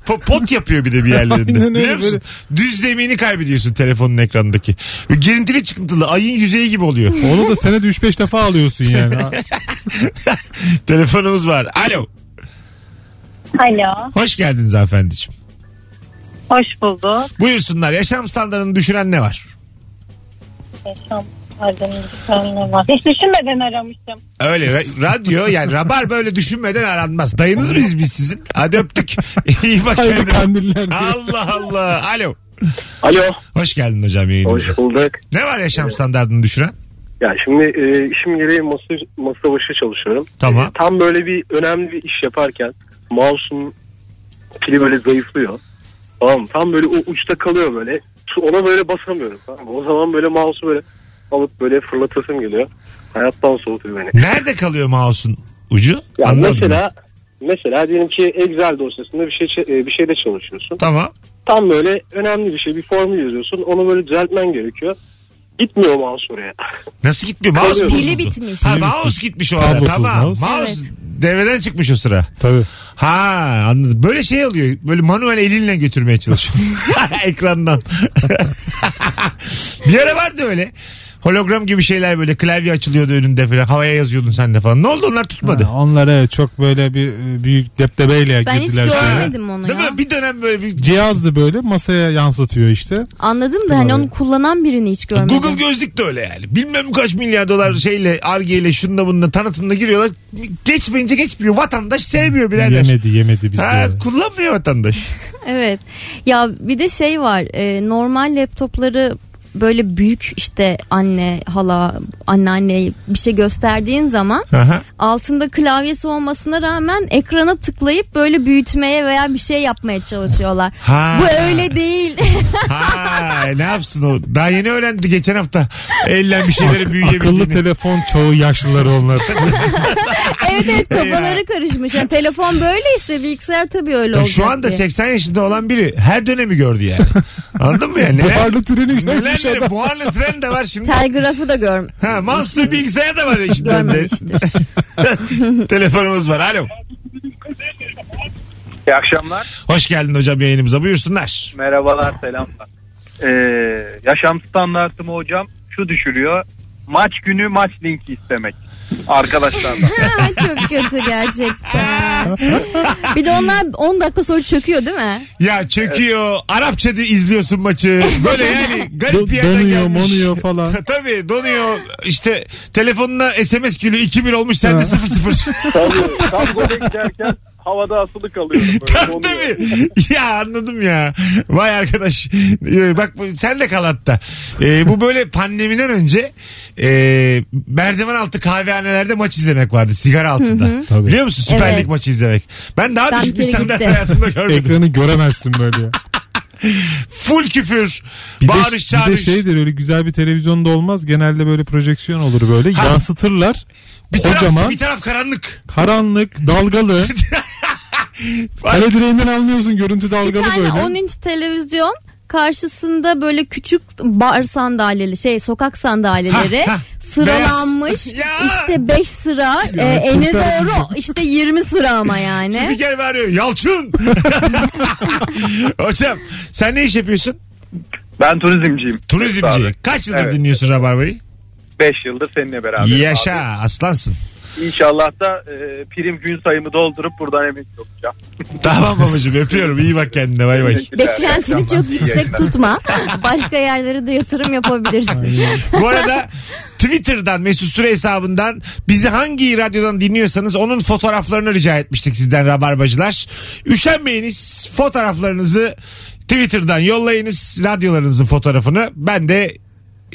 B: Po- pot yapıyor bir de bir yerlerinde.
D: Aynen öyle,
B: Biliyor musun? Düz zemini kaybediyorsun telefonun ekrandaki. Böyle gerintili çıkıntılı ayın yüzeyi gibi oluyor.
D: Onu da senede 3-5 defa alıyorsun yani. Ha,
B: Telefonumuz var. Alo.
I: Alo,
B: Hoş geldiniz hanımefendiciğim.
I: hoş bulduk.
B: Buyursunlar. Yaşam standartını düşüren ne var?
I: Yaşam Arda'nın ne var? Hiç düşünmeden aramıştım.
B: Öyle ra- radyo yani rabar böyle düşünmeden aranmaz. Dayınız mıyız biz sizin? Hadi öptük. İyi bak
D: Hayırlı
B: kendine.
D: kandiller diye.
B: Allah Allah. Alo.
J: Alo.
B: Hoş geldin hocam yayınımıza.
J: Hoş bulduk.
B: Ne var yaşam standartını düşüren?
J: Ya şimdi e, işim gereği masa, masa başı çalışıyorum.
B: Tamam.
J: E, tam böyle bir önemli bir iş yaparken mouse'un pili böyle zayıflıyor. Tamam mı? Tam böyle o uçta kalıyor böyle. Ona böyle basamıyorum. Tamam mı? O zaman böyle mouse'u böyle alıp böyle fırlatasım geliyor. Hayattan soğutuyor beni.
B: Nerede kalıyor mouse'un ucu?
J: Ya
B: Anlamadım.
J: mesela mesela diyelim ki Excel dosyasında bir şey ç- e, bir şeyde çalışıyorsun.
B: Tamam.
J: Tam böyle önemli bir şey bir formül yazıyorsun. Onu böyle düzeltmen gerekiyor. Gitmiyor mouse oraya.
B: Nasıl gitmiyor? Mouse
J: Kalıyor.
B: bozuldu.
C: Pili bitmiş.
B: Ha mouse gitmiş o ara.
D: Kablosuz
B: Tamam. Mouse,
D: mouse.
C: Evet.
B: devreden çıkmış o sıra.
D: Tabii.
B: Ha anladım. Böyle şey oluyor. Böyle manuel elinle götürmeye çalışıyor. Ekrandan. bir ara vardı öyle. Hologram gibi şeyler böyle klavye açılıyordu önünde falan. Havaya yazıyordun sen de falan. Ne oldu onlar tutmadı.
D: Onlar evet çok böyle bir e, büyük deptebeyle
C: Ben hiç
D: girdiler. şeye.
C: görmedim onu
B: Değil
C: ya.
B: mi? Bir dönem böyle bir
D: Cihazdı böyle masaya yansıtıyor işte.
C: Anladım da hani onu kullanan birini hiç görmedim.
B: Google gözlük de öyle yani. Bilmem kaç milyar dolar şeyle, argeyle, şununla bununla tanıtımla giriyorlar. Geçmeyince geçmiyor. Vatandaş sevmiyor birader.
D: Yemedi yemedi bizde.
B: Ha, kullanmıyor vatandaş.
C: Evet. Ya bir de şey var. e, normal laptopları böyle büyük işte anne, hala, anneanne bir şey gösterdiğin zaman
B: Aha.
C: altında klavyesi olmasına rağmen ekrana tıklayıp böyle büyütmeye veya bir şey yapmaya çalışıyorlar.
B: Ha.
C: Bu öyle değil.
B: Ha, ne yapsın o? Daha yeni öğrendi geçen hafta. Elden bir şeyleri
D: Akıllı
B: büyüyebildiğini.
D: telefon çoğu yaşlıları onlar.
C: evet evet kafaları karışmış. Yani telefon böyleyse bilgisayar tabii öyle
B: Ya
C: olacak
B: şu anda
C: diye.
B: 80 yaşında olan biri her dönemi gördü yani. Anladın mı yani? Neler,
D: Buharlı treni
B: neler
D: görmüş
B: de,
D: adam.
B: buharlı tren de var şimdi.
C: Telgrafı da görm
B: Ha, Monster bilgisayar da var işte.
C: görmemiştir.
B: Telefonumuz var. Alo.
H: İyi akşamlar.
B: Hoş geldin hocam yayınımıza. Buyursunlar.
H: Merhabalar, selamlar. Ee, yaşam standartımı hocam şu düşürüyor. Maç günü maç linki istemek. Arkadaşlarla.
C: Ha, Çok kötü gerçekten. Bir de onlar 10 dakika sonra çöküyor değil mi?
B: Ya çöküyor. Arapçada izliyorsun maçı. Böyle yani garip bir yerden
D: Donuyor
B: gelmiş.
D: monuyor falan.
B: Tabii donuyor. İşte telefonuna SMS gülü 2000 olmuş sende
D: Ha.
B: 00.
F: Tabii. Tam gole giderken havada asılı kalıyorum. Böyle.
B: Tabii
F: donuyor.
B: tabii. Ya anladım ya. Vay arkadaş. Ee, Bak bu- sen de kal hatta. Ee, bu böyle pandemiden önce e, merdiven altı kahvehanelerde maç izlemek vardı. Sigara altında.
D: Tabii.
B: Biliyor musun? Süper
C: Evet.
B: Lig maçı izlemek. Ben daha
C: Ben
B: düşük bir
C: bir kere
B: standart
C: gittim.
B: hayatımda görmedim.
D: Ekranı göremezsin böyle ya.
B: Full küfür.
D: Bir de, şey
B: bağırış
D: bir de
B: çağırış.
D: şeydir öyle güzel bir televizyonda olmaz. Genelde böyle projeksiyon olur böyle.
B: Ha.
D: Yansıtırlar.
B: bir, taraf,
D: kocaman.
B: bir taraf karanlık.
D: Karanlık, dalgalı. Kale direğinden anlıyorsun görüntü
C: Bir
D: dalgalı
C: tane
D: böyle.
C: 10 inç televizyon karşısında böyle küçük bar sandalyeli şey sokak sandalyeleri
B: Ha, ha.
C: sıralanmış
B: Beyaz. Ya.
C: işte 5 sıra e,
D: Ya,
C: ene
D: kurtar bizi.
C: doğru işte 20 sıra ama yani
B: Spiker bağırıyor. Yalçın. Hocam sen ne iş yapıyorsun?
H: Ben turizmciyim.
B: Turizmci. Kaç yıldır
H: Evet.
B: dinliyorsun Rabarba'yı?
H: 5 yıldır seninle beraber.
B: Yaşa aslansın.
H: İnşallah da e, prim gün sayımı doldurup buradan emekli olacağım.
B: Tamam babacığım öpüyorum. İyi bak kendine bay bay.
C: beklentini çok
H: İyi
C: yüksek
H: yayınlar.
C: tutma başka yerlere de yatırım yapabilirsin
B: Bu arada Twitter'dan Mesut Süre hesabından bizi hangi radyodan dinliyorsanız onun fotoğraflarını rica etmiştik sizden rabarbacılar. Üşenmeyiniz fotoğraflarınızı Twitter'dan yollayınız radyolarınızın fotoğrafını. Ben de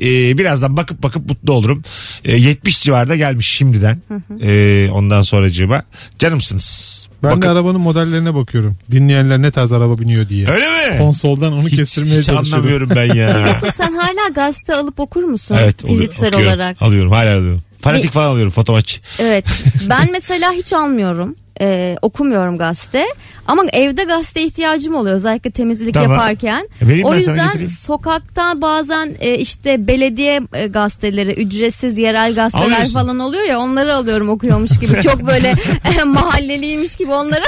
B: e, birazdan bakıp bakıp mutlu olurum. E, 70 civarda gelmiş şimdiden. E, ondan sonracığıma. Canımsınız.
D: Ben
B: Bakın-
D: de arabanın modellerine bakıyorum. Dinleyenler ne tarz araba biniyor diye.
B: Öyle mi?
D: Konsoldan onu
B: Hiç,
D: kestirmeye
B: hiç
D: çalışıyorum.
B: anlamıyorum ben ya.
C: sen hala gazete alıp okur musun
B: oluyor-
C: fiziksel
B: okuyorum.
C: olarak
B: Alıyorum hala alıyorum. Fanatik falan alıyorum fotomaç.
C: Evet. Ben mesela hiç almıyorum. Ee, okumuyorum gazete. Ama evde gazete ihtiyacım oluyor özellikle temizlik
B: Tamam. E,
C: yaparken.
B: Vereyim
C: o
B: ben sana
C: yüzden
B: getireyim.
C: sokakta bazen e, işte belediye e, gazeteleri, ücretsiz yerel gazeteler
B: Alıyorsun.
C: falan oluyor ya onları alıyorum okuyormuş gibi. Çok böyle e, mahalleliymiş gibi onları.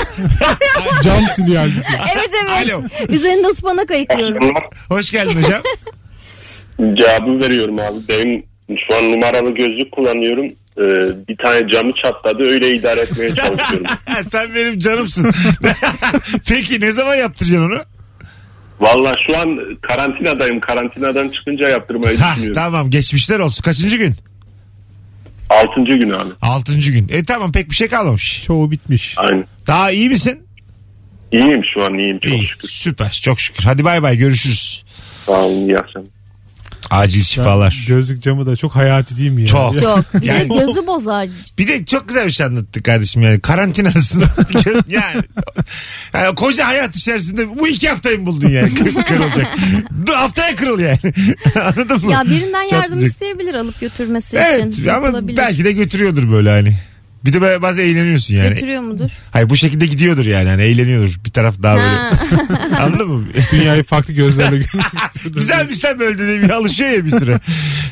D: Cam siliyor halbuki.
C: evet evet.
B: Alo.
C: Üzerinde ıspanak ayıklıyorum.
B: Hoş geldin hocam.
K: Cevabı veriyorum abi. Benim şu an numaralı gözlük kullanıyorum. Ee, bir tane camı çatladı öyle idare etmeye çalışıyorum.
B: Sen benim canımsın. Peki ne zaman yaptıracaksın onu?
K: Valla şu an karantinadayım. Karantinadan çıkınca yaptırmayı
B: Ha,
K: düşünüyorum.
B: tamam geçmişler olsun. Kaçıncı gün?
K: Altıncı gün abi.
B: Altıncı gün. E tamam pek bir şey kalmamış.
D: Çoğu bitmiş.
K: Aynen.
B: Daha iyi misin?
K: İyiyim şu an iyiyim çok
B: iyi.
K: şükür.
B: Süper. Çok şükür. Hadi bay bay görüşürüz.
K: Sağ olun iyi akşamlar.
B: Acil şifalar.
D: Gözlük camı da çok hayati değil mi ya?
B: Çok.
C: Çok. Bir
B: Yani-
C: de gözü bozar.
B: Bir de çok güzel bir şey anlattı kardeşim yani. Karantinasında yani, yani koca hayat içerisinde bu iki haftayı mı buldun yani. Kır- Kırılacak. Dur, haftaya kırıl yani. Anladın mı?
C: Ya birinden
B: Çok
C: yardım
B: güzel.
C: isteyebilir alıp götürmesi
B: Evet
C: için.
B: ama
C: Yapılabilir.
B: belki de götürüyordur böyle hani. Bir de böyle bazen eğleniyorsun yani.
C: Götürüyor mudur?
B: Hayır bu şekilde gidiyordur yani. Hani eğleniyordur. Bir taraf daha böyle.
C: Ha.
B: Anladın mı?
D: Dünyayı farklı gözlerle görmek istedim.
B: Güzelmiş lan böyle dediğim gibi. alışıyor ya bir süre.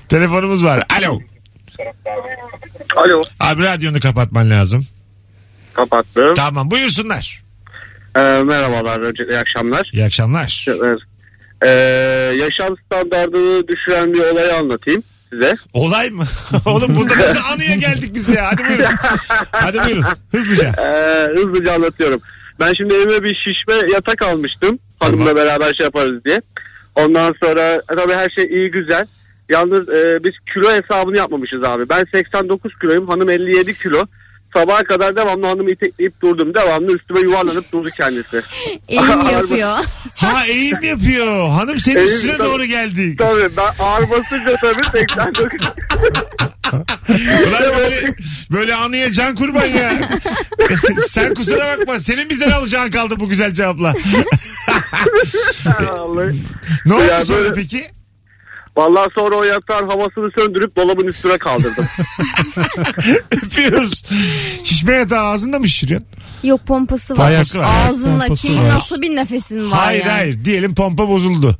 B: Telefonumuz var. Alo.
H: Alo.
B: Abi radyonu kapatman lazım.
H: Kapattım.
B: Tamam buyursunlar.
H: Ee, merhabalar. Öncelikle iyi akşamlar.
B: İyi akşamlar.
H: Evet. Ee, yaşam standartını düşüren bir olayı anlatayım size.
B: Olay mı? Oğlum burada nasıl anıya geldik biz ya? Hadi buyurun. Hadi buyurun. Hızlıca.
H: Ee, hızlıca anlatıyorum. Ben şimdi evime bir şişme yatak almıştım. Hanımla
B: Tamam.
H: beraber şey yaparız diye. Ondan sonra e, tabii her şey iyi güzel. Yalnız e, biz kilo hesabını yapmamışız abi. Ben 89 kiloyum, hanım 57 kilo. Sabaha kadar devamlı hanımı itekleyip durdum. Devamlı üstüme yuvarlanıp durdu kendisi.
C: Eğim yapıyor.
B: Ha eğim yapıyor. Hanım senin
H: Eğim,
B: üstüne
H: tabii.
B: doğru geldi.
H: Tabii ben ağır basınca tabii 89
B: Ulan böyle, böyle anıya can kurban ya. Sen kusura bakma. Senin bizden alacağın kaldı bu güzel cevapla. ne oldu
H: Ya
B: sonra
H: böyle-
B: peki?
H: Vallahi sonra o yatağın havasını söndürüp dolabın üstüne kaldırdım.
B: Öpüyoruz. Şişme yatağı ağzında mı şişiriyorsun?
C: Yok pompası var.
B: Pompası var.
C: Ağzınla
B: Pompası
C: ki
B: var.
C: nasıl bir nefesin var
B: hayır
C: yani.
B: hayır. Diyelim pompa bozuldu.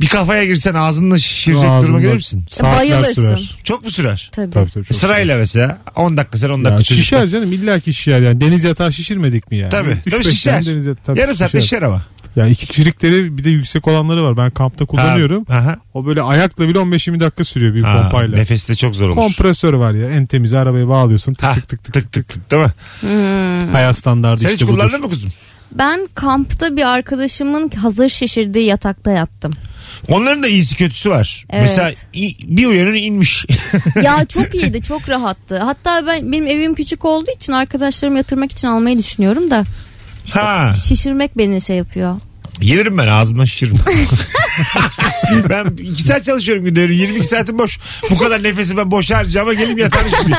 B: Bir kafaya girsen ağzınla şişirecek
D: Ağzında
B: duruma gelir misin?
D: saatler Bayılırsın. sürer.
B: Çok mu sürer?
C: Tabii.
D: Tabii, tabii, çok
B: Sırayla mesela. 10 dakika sen 10 dakika.
D: Ya
B: çocuk.
D: şişer canım illa ki şişer yani. Deniz yatağı şişirmedik mi yani?
B: Tabii.
D: Üç
B: tabii
D: beş
B: şişer.
D: tane deniz yatağı tabii
B: Yarım saatte şişer ama.
D: Ya iki kişilikleri bir de yüksek olanları var. Ben kampta kullanıyorum.
B: aha.
D: O böyle ayakla bile 15-20 dakika sürüyor büyük
B: Ha,
D: pompayla.
B: Nefesi de çok zor olur.
D: Kompresör var ya en temiz arabaya bağlıyorsun. Tık tık tık tık tık.
B: Değil mi?
C: Hmm.
D: Hayat standardı
B: Sen
D: işte
B: hiç
D: budur.
B: kullandın mı kuzum?
C: Ben kampta bir arkadaşımın hazır şişirdiği yatakta yattım.
B: Onların da iyisi kötüsü var.
C: Evet.
B: Mesela i- bir uyanın inmiş.
C: ya çok iyiydi çok rahattı. Hatta ben benim evim küçük olduğu için arkadaşlarımı yatırmak için almayı düşünüyorum da.
B: ha.
C: Şişirmek beni şey yapıyor.
B: Gelirim ben ağzımdan şişiririm. ben 2 saat çalışıyorum günde. 22 saatim boş. Bu kadar nefesi ben boş harcayacağım ama gelip yatağın üstüne.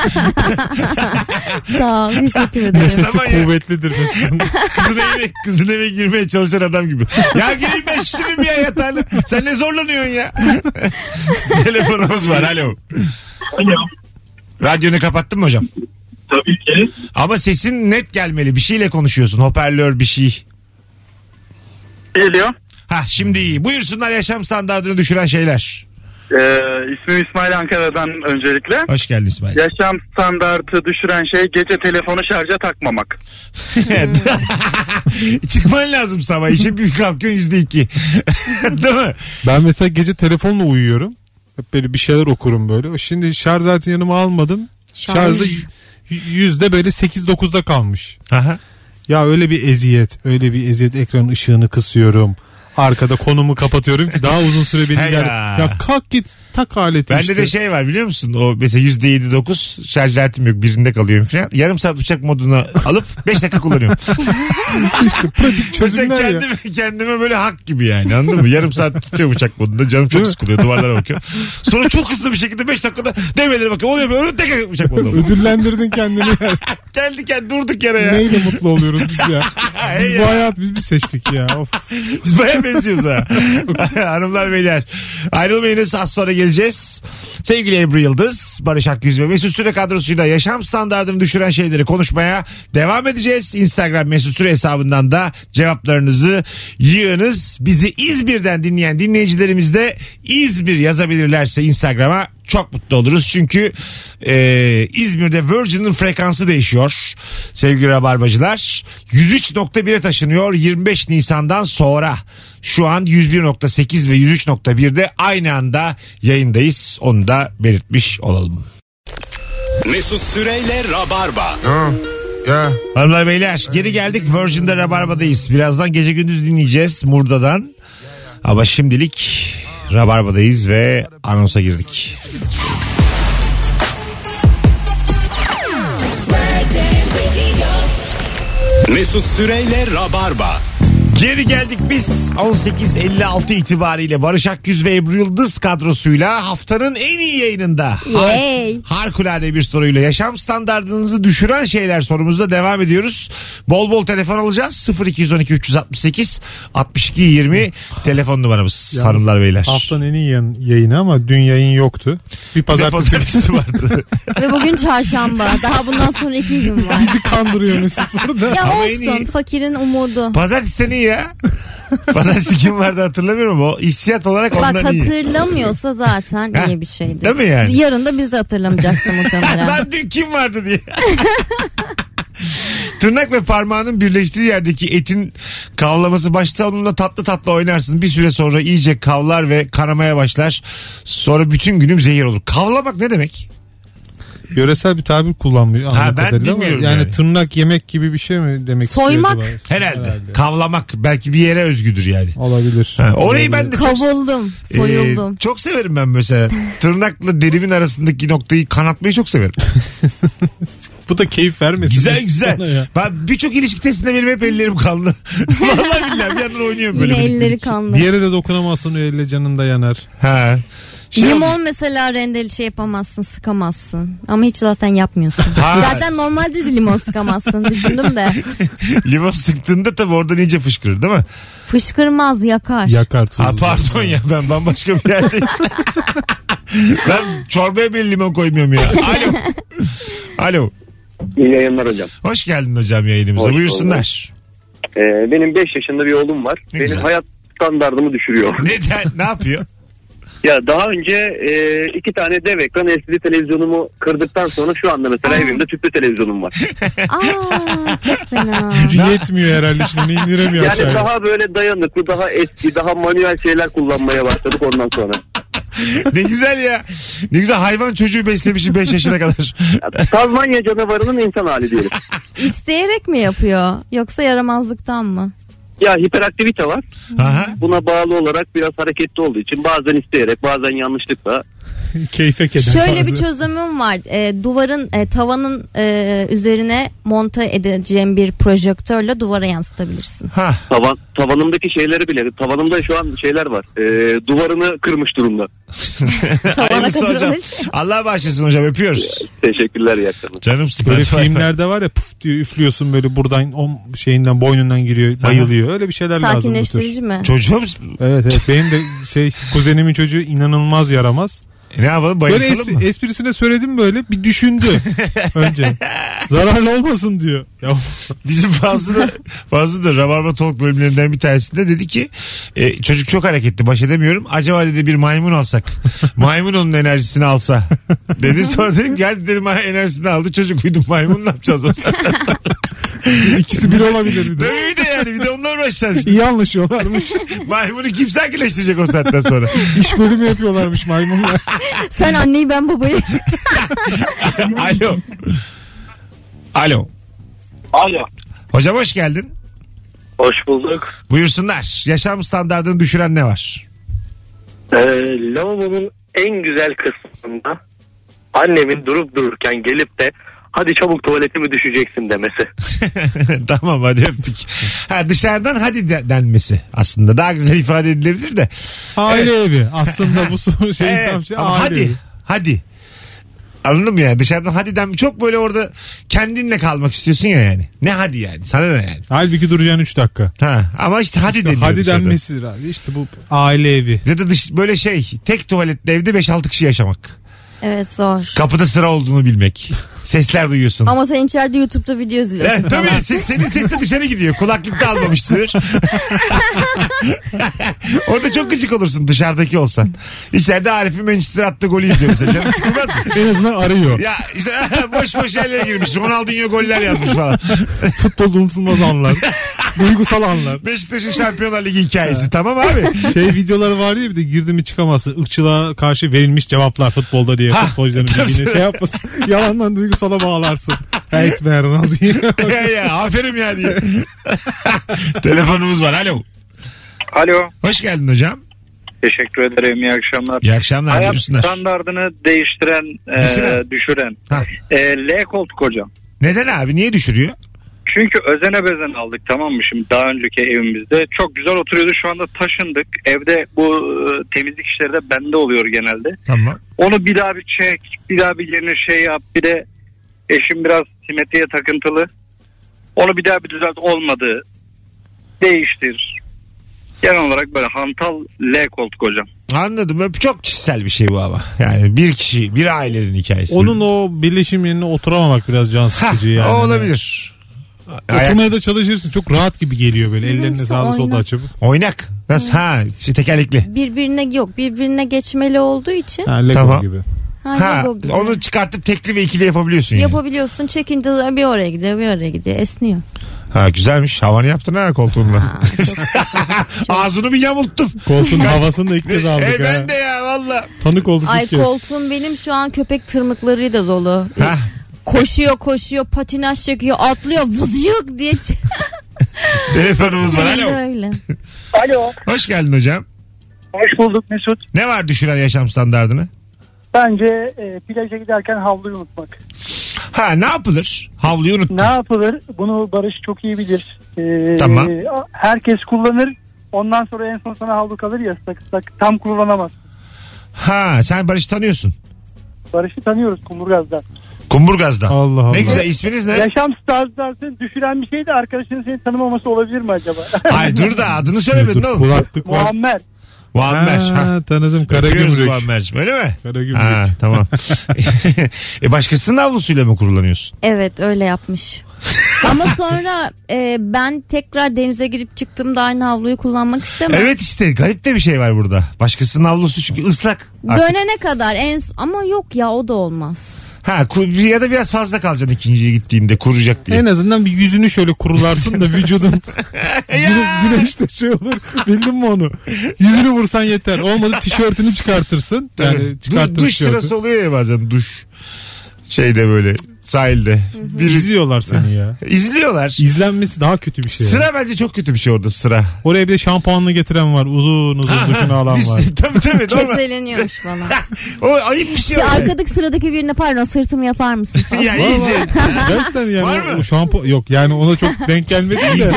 C: Sağ ol teşekkür ederim.
D: Nefesi
B: Aman ya.
D: kuvvetlidir Mesut'un.
B: Kızın eve, kızın eve girmeye çalışan adam gibi. Ya geleyim ben şişiririm ya yatağını. Sen ne zorlanıyorsun ya? Telefonumuz var. Alo.
G: Alo.
B: Radyonu kapattın mı hocam?
G: Tabii ki.
B: Ama sesin net gelmeli. Bir şeyle konuşuyorsun. Hoparlör bir şey.
L: Geliyor.
B: Ha şimdi iyi. Buyursunlar yaşam standartını düşüren şeyler.
L: Ee, ismim İsmail Ankara'dan öncelikle.
B: Hoş geldin İsmail.
L: Yaşam standartı düşüren şey gece telefonu şarja takmamak.
B: Çıkman lazım sabah. İşe bir kalkıyorsun yüzde iki. Değil mi?
D: Ben mesela gece telefonla uyuyorum. Hep böyle bir şeyler okurum böyle. Şimdi şarj zaten yanıma almadım.
B: Şarj.
D: Şarjda y- yüzde böyle 8-9'da kalmış.
B: Aha.
D: Ya öyle bir eziyet. Öyle bir eziyet. Ekranın ışığını kısıyorum. Arkada konumu kapatıyorum ki daha uzun süre beni
B: He
D: gel.
B: ya.
D: Ya. kalk git tak aleti
B: Bende
D: işte.
B: de şey var biliyor musun? O mesela yüzde yedi dokuz şarj aletim yok. Birinde kalıyorum falan. Yarım saat uçak moduna alıp beş dakika kullanıyorum.
D: işte pratik
B: Mesela
D: çözümler ya.
B: kendime, kendime böyle hak gibi yani anladın mı? Yarım saat tutuyor uçak modunda. Canım çok sıkılıyor. Duvarlara bakıyorum. Sonra çok hızlı bir şekilde beş dakikada demelere bakıyorum. Oluyor böyle tekrar uçak modunda.
D: Ödüllendirdin kendini. ya.
B: Geldi kendi durduk yere ya.
D: Neyle mutlu oluyoruz biz ya.
B: Hey
D: Biz
B: ya.
D: bu hayat biz bir seçtik ya. Of.
B: Biz baya benziyoruz ha. Hanımlar beyler. Ayrılmayınız az sonra geleceğiz. Sevgili Ebru Yıldız, Barış Akgüz ve Mesut Süre kadrosuyla yaşam standartını düşüren şeyleri konuşmaya devam edeceğiz. Instagram Mesut Süre hesabından da cevaplarınızı yığınız. Bizi İzmir'den dinleyen dinleyicilerimiz de İzmir yazabilirlerse Instagram'a çok mutlu oluruz. Çünkü e, İzmir'de Virgin'in frekansı değişiyor sevgili rabarbacılar. 103.1'e taşınıyor 25 Nisan'dan sonra. Şu an 101.8 ve 103.1'de aynı anda yayındayız. Onu da belirtmiş olalım.
A: Mesut Süreyle Rabarba.
B: Hanımlar beyler geri geldik Virgin'de Rabarba'dayız. Birazdan gece gündüz dinleyeceğiz Murda'dan. Ama şimdilik Rabarba'dayız ve anonsa girdik.
A: Mesut Süreyle Rabarba.
B: Geri geldik biz 18.56 itibariyle Barış Akgüz ve Ebru Yıldız kadrosuyla haftanın en iyi yayınında har-
C: Yay.
B: harikulade bir soruyla yaşam standartınızı düşüren şeyler sorumuzda devam ediyoruz. Bol bol telefon alacağız 0212 368 62 20 telefon numaramız
D: Yalnız
B: hanımlar beyler.
D: Haftanın en iyi yayın- yayını ama dün yayın yoktu. Bir
B: Bir de
D: pazartesi
B: pazartesi vardı.
C: Ve bugün çarşamba. Daha bundan sonra iki gün var.
D: bizi kandırıyor Mesut burada.
C: Ya
B: Ama en iyi-
C: olsun fakirin umudu.
B: pazartesi ne ya? Pazartesi kim vardı hatırlamıyorum. O hissiyat olarak ondan
C: Bak
B: iyi.
C: hatırlamıyorsa zaten
B: Ha,
C: iyi bir şeydi.
B: değil mi yani?
C: Yarın da biz de hatırlamayacaksın muhtemelen.
B: Lan dün kim vardı diye. Tırnak ve parmağının birleştiği yerdeki etin kavlaması başta onunla tatlı tatlı oynarsın. Bir süre sonra iyice kavlar ve kanamaya başlar. Sonra bütün günüm zehir olur. Kavlamak ne demek?
D: Yöresel bir tabir kullanmıyor.
B: Ha,
D: anladığım
B: ben
D: kadarıyla ama
B: bilmiyorum
D: yani,
B: yani.
D: tırnak yemek gibi bir şey mi demek
C: Soymak.
D: istiyor acaba?
B: Herhalde. Kavlamak belki bir yere özgüdür yani.
D: Olabilir.
B: Ha, orayı ben de çok
C: Kavuldum,
B: Ee,
C: soyuldum.
B: çok severim ben mesela. Tırnakla derimin arasındaki noktayı kanatmayı çok severim.
D: Bu da keyif vermesin.
B: Güzel güzel.
D: Sana ya.
B: Ben birçok ilişki testinde benim hep ellerim kanlı. Vallahi billahi bir yandan oynuyorum böyle.
C: Yine elleri kanlı.
D: Bir yere de dokunamazsın o elle canın da yanar.
B: He. Şey
C: Limon mesela rendeli şey yapamazsın sıkamazsın ama hiç zaten yapmıyorsun.
B: Ha.
C: Zaten normalde de limon sıkamazsın düşündüm de
B: Limon sıktığında tabii orada iyice fışkırır değil mi?
C: fışkırmaz yakar.
D: Yakar
B: Ha, pardon ya ben bambaşka bir yerdeyim. ben çorbaya bile limon koymuyorum ya. Alo. Alo.
M: İyi yayınlar hocam.
B: Hoş geldin hocam yayınımıza.
M: Hoş
B: Buyursunlar.
M: Ee, benim 5 yaşında bir oğlum var.
B: Ne
M: benim
B: güzel.
M: hayat standartımı düşürüyor.
B: Neden? Ne yapıyor?
M: Ya daha önce e, iki tane dev ekran LCD televizyonumu kırdıktan sonra şu anda mesela evimde tüplü televizyonum var.
C: Aa çok fena.
D: Gücü yetmiyor herhalde şimdi indiremiyor
M: yani
D: aşağıya.
M: daha böyle dayanıklı, daha eski, daha manuel şeyler kullanmaya başladık ondan sonra.
B: ne güzel ya. Ne güzel hayvan çocuğu beslemişim 5 yaşına kadar.
M: Tazmanya canavarının insan hali diyelim.
C: İsteyerek mi yapıyor yoksa yaramazlıktan mı?
M: Ya hiperaktivite var.
B: Aha.
M: Buna bağlı olarak biraz hareketli olduğu için bazen isteyerek bazen yanlışlıkla.
D: Keyfe keder.
C: Şöyle bir
D: bazı.
C: çözümüm var. Ee, duvarın e, tavanın e, üzerine monta edeceğim bir projektörle duvara yansıtabilirsin.
B: Ha.
M: Tavan, tavanımdaki şeyleri bile tavanımda şu an şeyler var. Ee, duvarını kırmış durumda.
C: Tavana
B: Hayırlısı hocam.
C: kadar.
B: Allah bağışlasın hocam öpüyoruz.
M: Teşekkürler iyi akşamlar.
B: Canımsın.
D: Böyle
B: Hadi bay bay.
D: filmlerde var ya puf diyor üflüyorsun böyle buradan o şeyinden boynundan giriyor bayılıyor. Öyle bir şeyler lazım bu tür.
C: Sakinleştirici mi?
B: Çocuğum
D: Evet evet benim de şey kuzenimin çocuğu inanılmaz yaramaz.
B: e, ne yapalım
D: Böyle
B: bayıltalım
D: espri-
B: mı?
D: esprisine söyledim böyle bir düşündü önce. Zararlı olmasın diyor. Ya
B: Bizim fazla da, fazla da Rabarba Talk bölümlerinden bir tanesinde dedi ki e, çocuk çok hareketli baş edemiyorum. Acaba dedi bir maymun alsak. Maymun onun enerjisini alsa. Dedi sonra dedim geldi dedim "Ha, enerjisini aldı çocuk uyudu maymun ne yapacağız o saatten sonra?"
D: ikisi bir olabilir bir de.
B: Öyle de yani bir de onunla uğraşacaksın işte.
D: İyi anlaşıyorlarmış.
B: Maymunu kim sakinleştirecek o saatten sonra?
D: İş bölümü yapıyorlarmış maymunlar.
C: Sen anneyi ben babayı.
B: Alo. Alo.
L: Alo.
B: Hocam hoş geldin.
L: Hoş bulduk.
B: Buyursunlar. Yaşam standartını düşüren ne var?
L: Ee, lavabonun en güzel kısmında annemin durup dururken gelip de hadi çabuk tuvaletimi düşeceksin demesi.
B: tamam hadi öptük. Ha, dışarıdan hadi de- denmesi aslında. Daha güzel ifade edilebilir de.
D: Aile evi. Aslında bu soru şey
B: Evet,
D: tam şey aile
B: ama hadi.
D: evi.
B: Hadi. Anladın mı ya? Dışarıdan hadi den çok böyle orada kendinle kalmak istiyorsun ya yani. Ne hadi yani? Sana ne yani?
D: Halbuki duracaksın 3 dakika.
B: Ha, ama işte hadi deniyor
D: hadi
B: dışarıdan.
D: denmesidir abi. İşte bu aile evi.
B: Ya da dış, böyle şey tek tuvaletli evde 5-6 kişi yaşamak.
C: Evet zor.
B: Kapıda sıra olduğunu bilmek. Sesler duyuyorsun.
C: Ama sen içeride YouTube'da video izliyorsun.
B: Evet, tabii ses, senin ses de dışarı gidiyor. Kulaklık da almamıştır. Orada çok gıcık olursun dışarıdaki olsan. İçeride Arif'in Manchester attığı golü izliyor mesela. Canın sıkılmaz mı?
D: En azından arıyor.
B: Ya işte boş boş yerlere girmiş. Ronaldinho goller yazmış falan.
D: Futbol unutulmaz anlar. Duygusal anlar.
B: Beşiktaş'ın Şampiyonlar Ligi hikayesi. tamam abi.
D: Şey videoları var ya bir de girdi mi çıkamazsın. Irkçılığa karşı verilmiş cevaplar futbolda diye futbolcuların bildiğini şey yapmasın. Yalandan duygusala bağlarsın. Evet be Ronaldinho.
B: ya, ya, aferin ya diye. Telefonumuz var. Alo.
L: Alo.
B: Hoş geldin hocam.
L: Teşekkür ederim. iyi akşamlar.
B: İyi akşamlar.
L: Hayat
B: Buyursunlar.
L: standartını değiştiren, e,
B: Düşüren.
L: düşüren.
B: Ha.
L: E, L koltuk hocam.
B: Neden abi? Niye düşürüyor?
L: Çünkü özene bezene aldık tamam mı şimdi daha önceki evimizde. Çok güzel oturuyordu şu anda taşındık. Evde bu e, temizlik işleri de bende oluyor genelde.
B: Tamam.
L: Onu bir daha bir çek, bir daha bir yerine şey yap. Bir de eşim biraz simetriye takıntılı. Onu bir daha bir düzelt olmadı. Değiştir. Genel olarak böyle hantal L koltuk hocam.
B: Anladım. Öp- Çok kişisel bir şey bu ama. Yani bir kişi, bir ailenin hikayesi.
D: Onun o birleşim yerine oturamamak biraz can
B: Ha,
D: sıkıcı yani. Hani
B: o olabilir. Ayak-
D: Oturmaya da çalışırsın. Çok rahat gibi geliyor böyle.
C: Bizimkisi
D: Ellerini sağda solda
C: oynak.
D: açıp.
B: Oynak. Nasıl? Ha, şey, tekerlekli.
C: Birbirine yok birbirine geçmeli olduğu için.
D: Ha, Lego
B: Tamam.
D: gibi.
C: Ha,
B: Ha,
C: Lego gibi.
B: onu çıkartıp tekli ve ikili yapabiliyorsun yani.
C: Yapabiliyorsun çekince bir oraya gidiyor bir oraya gidiyor esniyor.
B: ha, güzelmiş. Havanı yaptın ha koltuğunla. Ağzını bir yamulttum.
D: Koltuğun havasını da ilk kez aldık
B: e,
D: ha.
B: ben de ya valla.
D: Tanık olduk
C: Ay
D: ilk kez.
C: koltuğum benim şu an köpek tırmıklarıyla dolu.
B: Ha,
C: Koşuyor koşuyor patinaj çekiyor atlıyor vızcık diye.
B: telefonumuz var. Alo.
C: Öyle.
N: Alo.
B: Hoş geldin hocam.
N: Hoş bulduk Mesut.
B: Ne var düşüren yaşam standartını?
N: Bence e, plaja giderken havluyu unutmak.
B: Ha ne yapılır? Havluyu unut.
N: Ne yapılır? Bunu Barış çok iyi bilir. Ee,
B: Tamam.
N: Herkes kullanır. Ondan sonra en son sana havlu kalır ya ıslak ıslak. Tam kullanamaz.
B: Ha sen Barış'ı tanıyorsun.
N: Barış'ı tanıyoruz Kumburgaz'dan.
B: Kumburgaz'dan.
D: Allah
B: Ne güzel isminiz ne?
N: Yaşam standartını düşüren bir şey de arkadaşının seni tanımaması olabilir mi acaba?
B: Ay dur da adını söylemedin
D: Dur,
B: oğlum.
D: kulaklık var.
N: Muammer.
B: Muammer. Ha.
D: Ha, tanıdım
B: Öpüyoruz
D: Karagümrük.
B: Muammer'cim, öyle mi?
D: Karagümrük.
B: Ha tamam. e başkasının avlusuyla mı kullanıyorsun?
C: Evet öyle yapmış. Ama sonra e, ben tekrar denize girip çıktığımda aynı havluyu kullanmak istemem.
B: Evet işte garip de bir şey var burada. Başkasının avlusu çünkü ıslak. artık.
C: Dönene kadar en ama yok ya o da olmaz.
B: Ha ku- ya da biraz fazla kalacaksın ikinciye gittiğinde kuruyacak diye.
D: En azından bir yüzünü şöyle kurularsın da vücudun Güne- güneşte şey olur. Bildin mi onu? Yüzünü vursan yeter. Olmadı tişörtünü çıkartırsın. Yani
B: Tabii.
D: çıkartır
B: Du- duş
D: tişörtü.
B: sırası oluyor ya bazen duş. Şeyde böyle sahilde. Bir,
D: İzliyorlar seni ya.
B: izliyorlar.
D: İzlenmesi daha kötü bir şey.
B: Sıra bence çok kötü bir şey orada sıra.
D: Oraya bir de şampuanlı getiren var. Uzun uzun duşunu alan
B: Biz-
D: var.
B: tabii tabii. normal.
C: Keseleniyormuş falan.
B: O ayıp bir şey.
C: Şu
B: o.
C: arkadaki sıradaki birine pardon sırtımı yapar mısın? falan.
B: ya iyice.
D: Gerçekten yani
B: Var mı?
D: o şampuan yok yani ona çok denk gelmedi de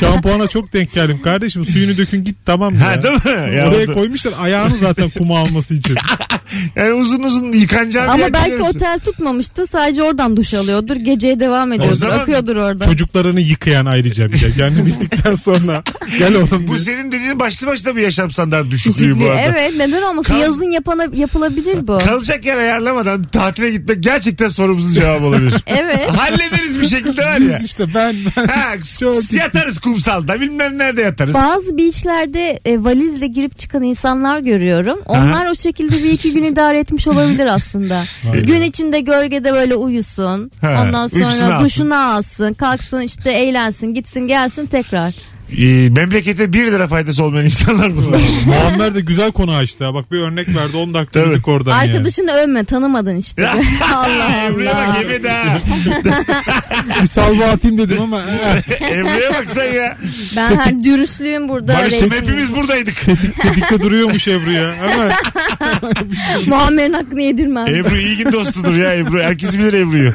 D: şampuana çok denk geldim kardeşim suyunu dökün git tamam mı ya.
B: Ha değil mi? Ya
D: Oraya
B: orada-
D: koymuşlar ayağını zaten kuma alması için.
B: Yani uzun uzun yıkanacağım.
C: Ama belki otel tutmamıştı sadece oradan duş alıyordur. Geceye devam ediyordur.
B: zaman-
C: Akıyordur orada.
D: Çocuklarını yıkayan ayrıca bir de. Kendi bittikten sonra gel oğlum
B: Bu
D: diye.
B: senin dediğin başlı başına bir yaşam standartı düşüklüğü bu arada.
C: Evet neden olmasın
B: Kal-
C: yazın yapana, yapılabilir bu.
B: Kalacak yer ayarlamadan tatile gitmek gerçekten sorumuzun cevabı olabilir.
C: Evet.
B: Hallederiz bir şekilde var ya.
D: Biz işte ben, ben
B: Ha, yatarız kumsalda bilmem nerede yatarız.
C: Bazı beach'lerde e, valizle girip çıkan insanlar görüyorum. Onlar o şekilde bir iki gün idare etmiş olabilir aslında. gün içinde gölgede böyle uyusun.
B: Ha,
C: Ondan sonra
B: uykusunu alsın.
C: duşunu alsın. Kalksın işte eğlensin. Gitsin gelsin tekrar.
B: Ee, memlekete 1 lira faydası olmayan insanlar bunlar.
D: Muammer de güzel konu açtı. ha. Bak bir örnek verdi 10 dakika
B: Tabii.
D: dedik oradan
C: Arkadaşını övme tanımadın işte. Allah
B: Emre'ye
C: Allah.
B: bak yemedi ha.
D: yani. Bir salva atayım dedim ama eh,
B: Emre'ye bak sen ya.
C: Ben her dürüstlüğüm burada.
B: Barış'ım
C: resmi.
B: hepimiz buradaydık.
D: tetikte duruyormuş Ebru ya. Hemen.
C: Muammer'in hakkını yedirmem.
B: Ebru iyi gün dostudur ya Ebru. Herkes bilir Ebru'yu.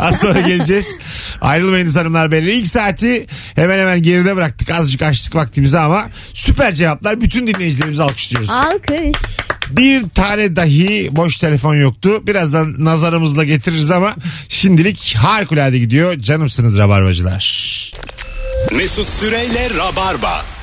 B: Az sonra geleceğiz. Ayrılmayınız hanımlar belli. İlk saati hemen hemen geride bıraktık. Azıcık açtık vaktimizi ama süper cevaplar. Bütün dinleyicilerimizi alkışlıyoruz.
C: Alkış.
B: Bir tane dahi boş telefon yoktu. Birazdan nazarımızla getiririz ama şimdilik harikulade gidiyor. Canımsınız rabarbacılar.
A: Mesut Süreyle Rabarba.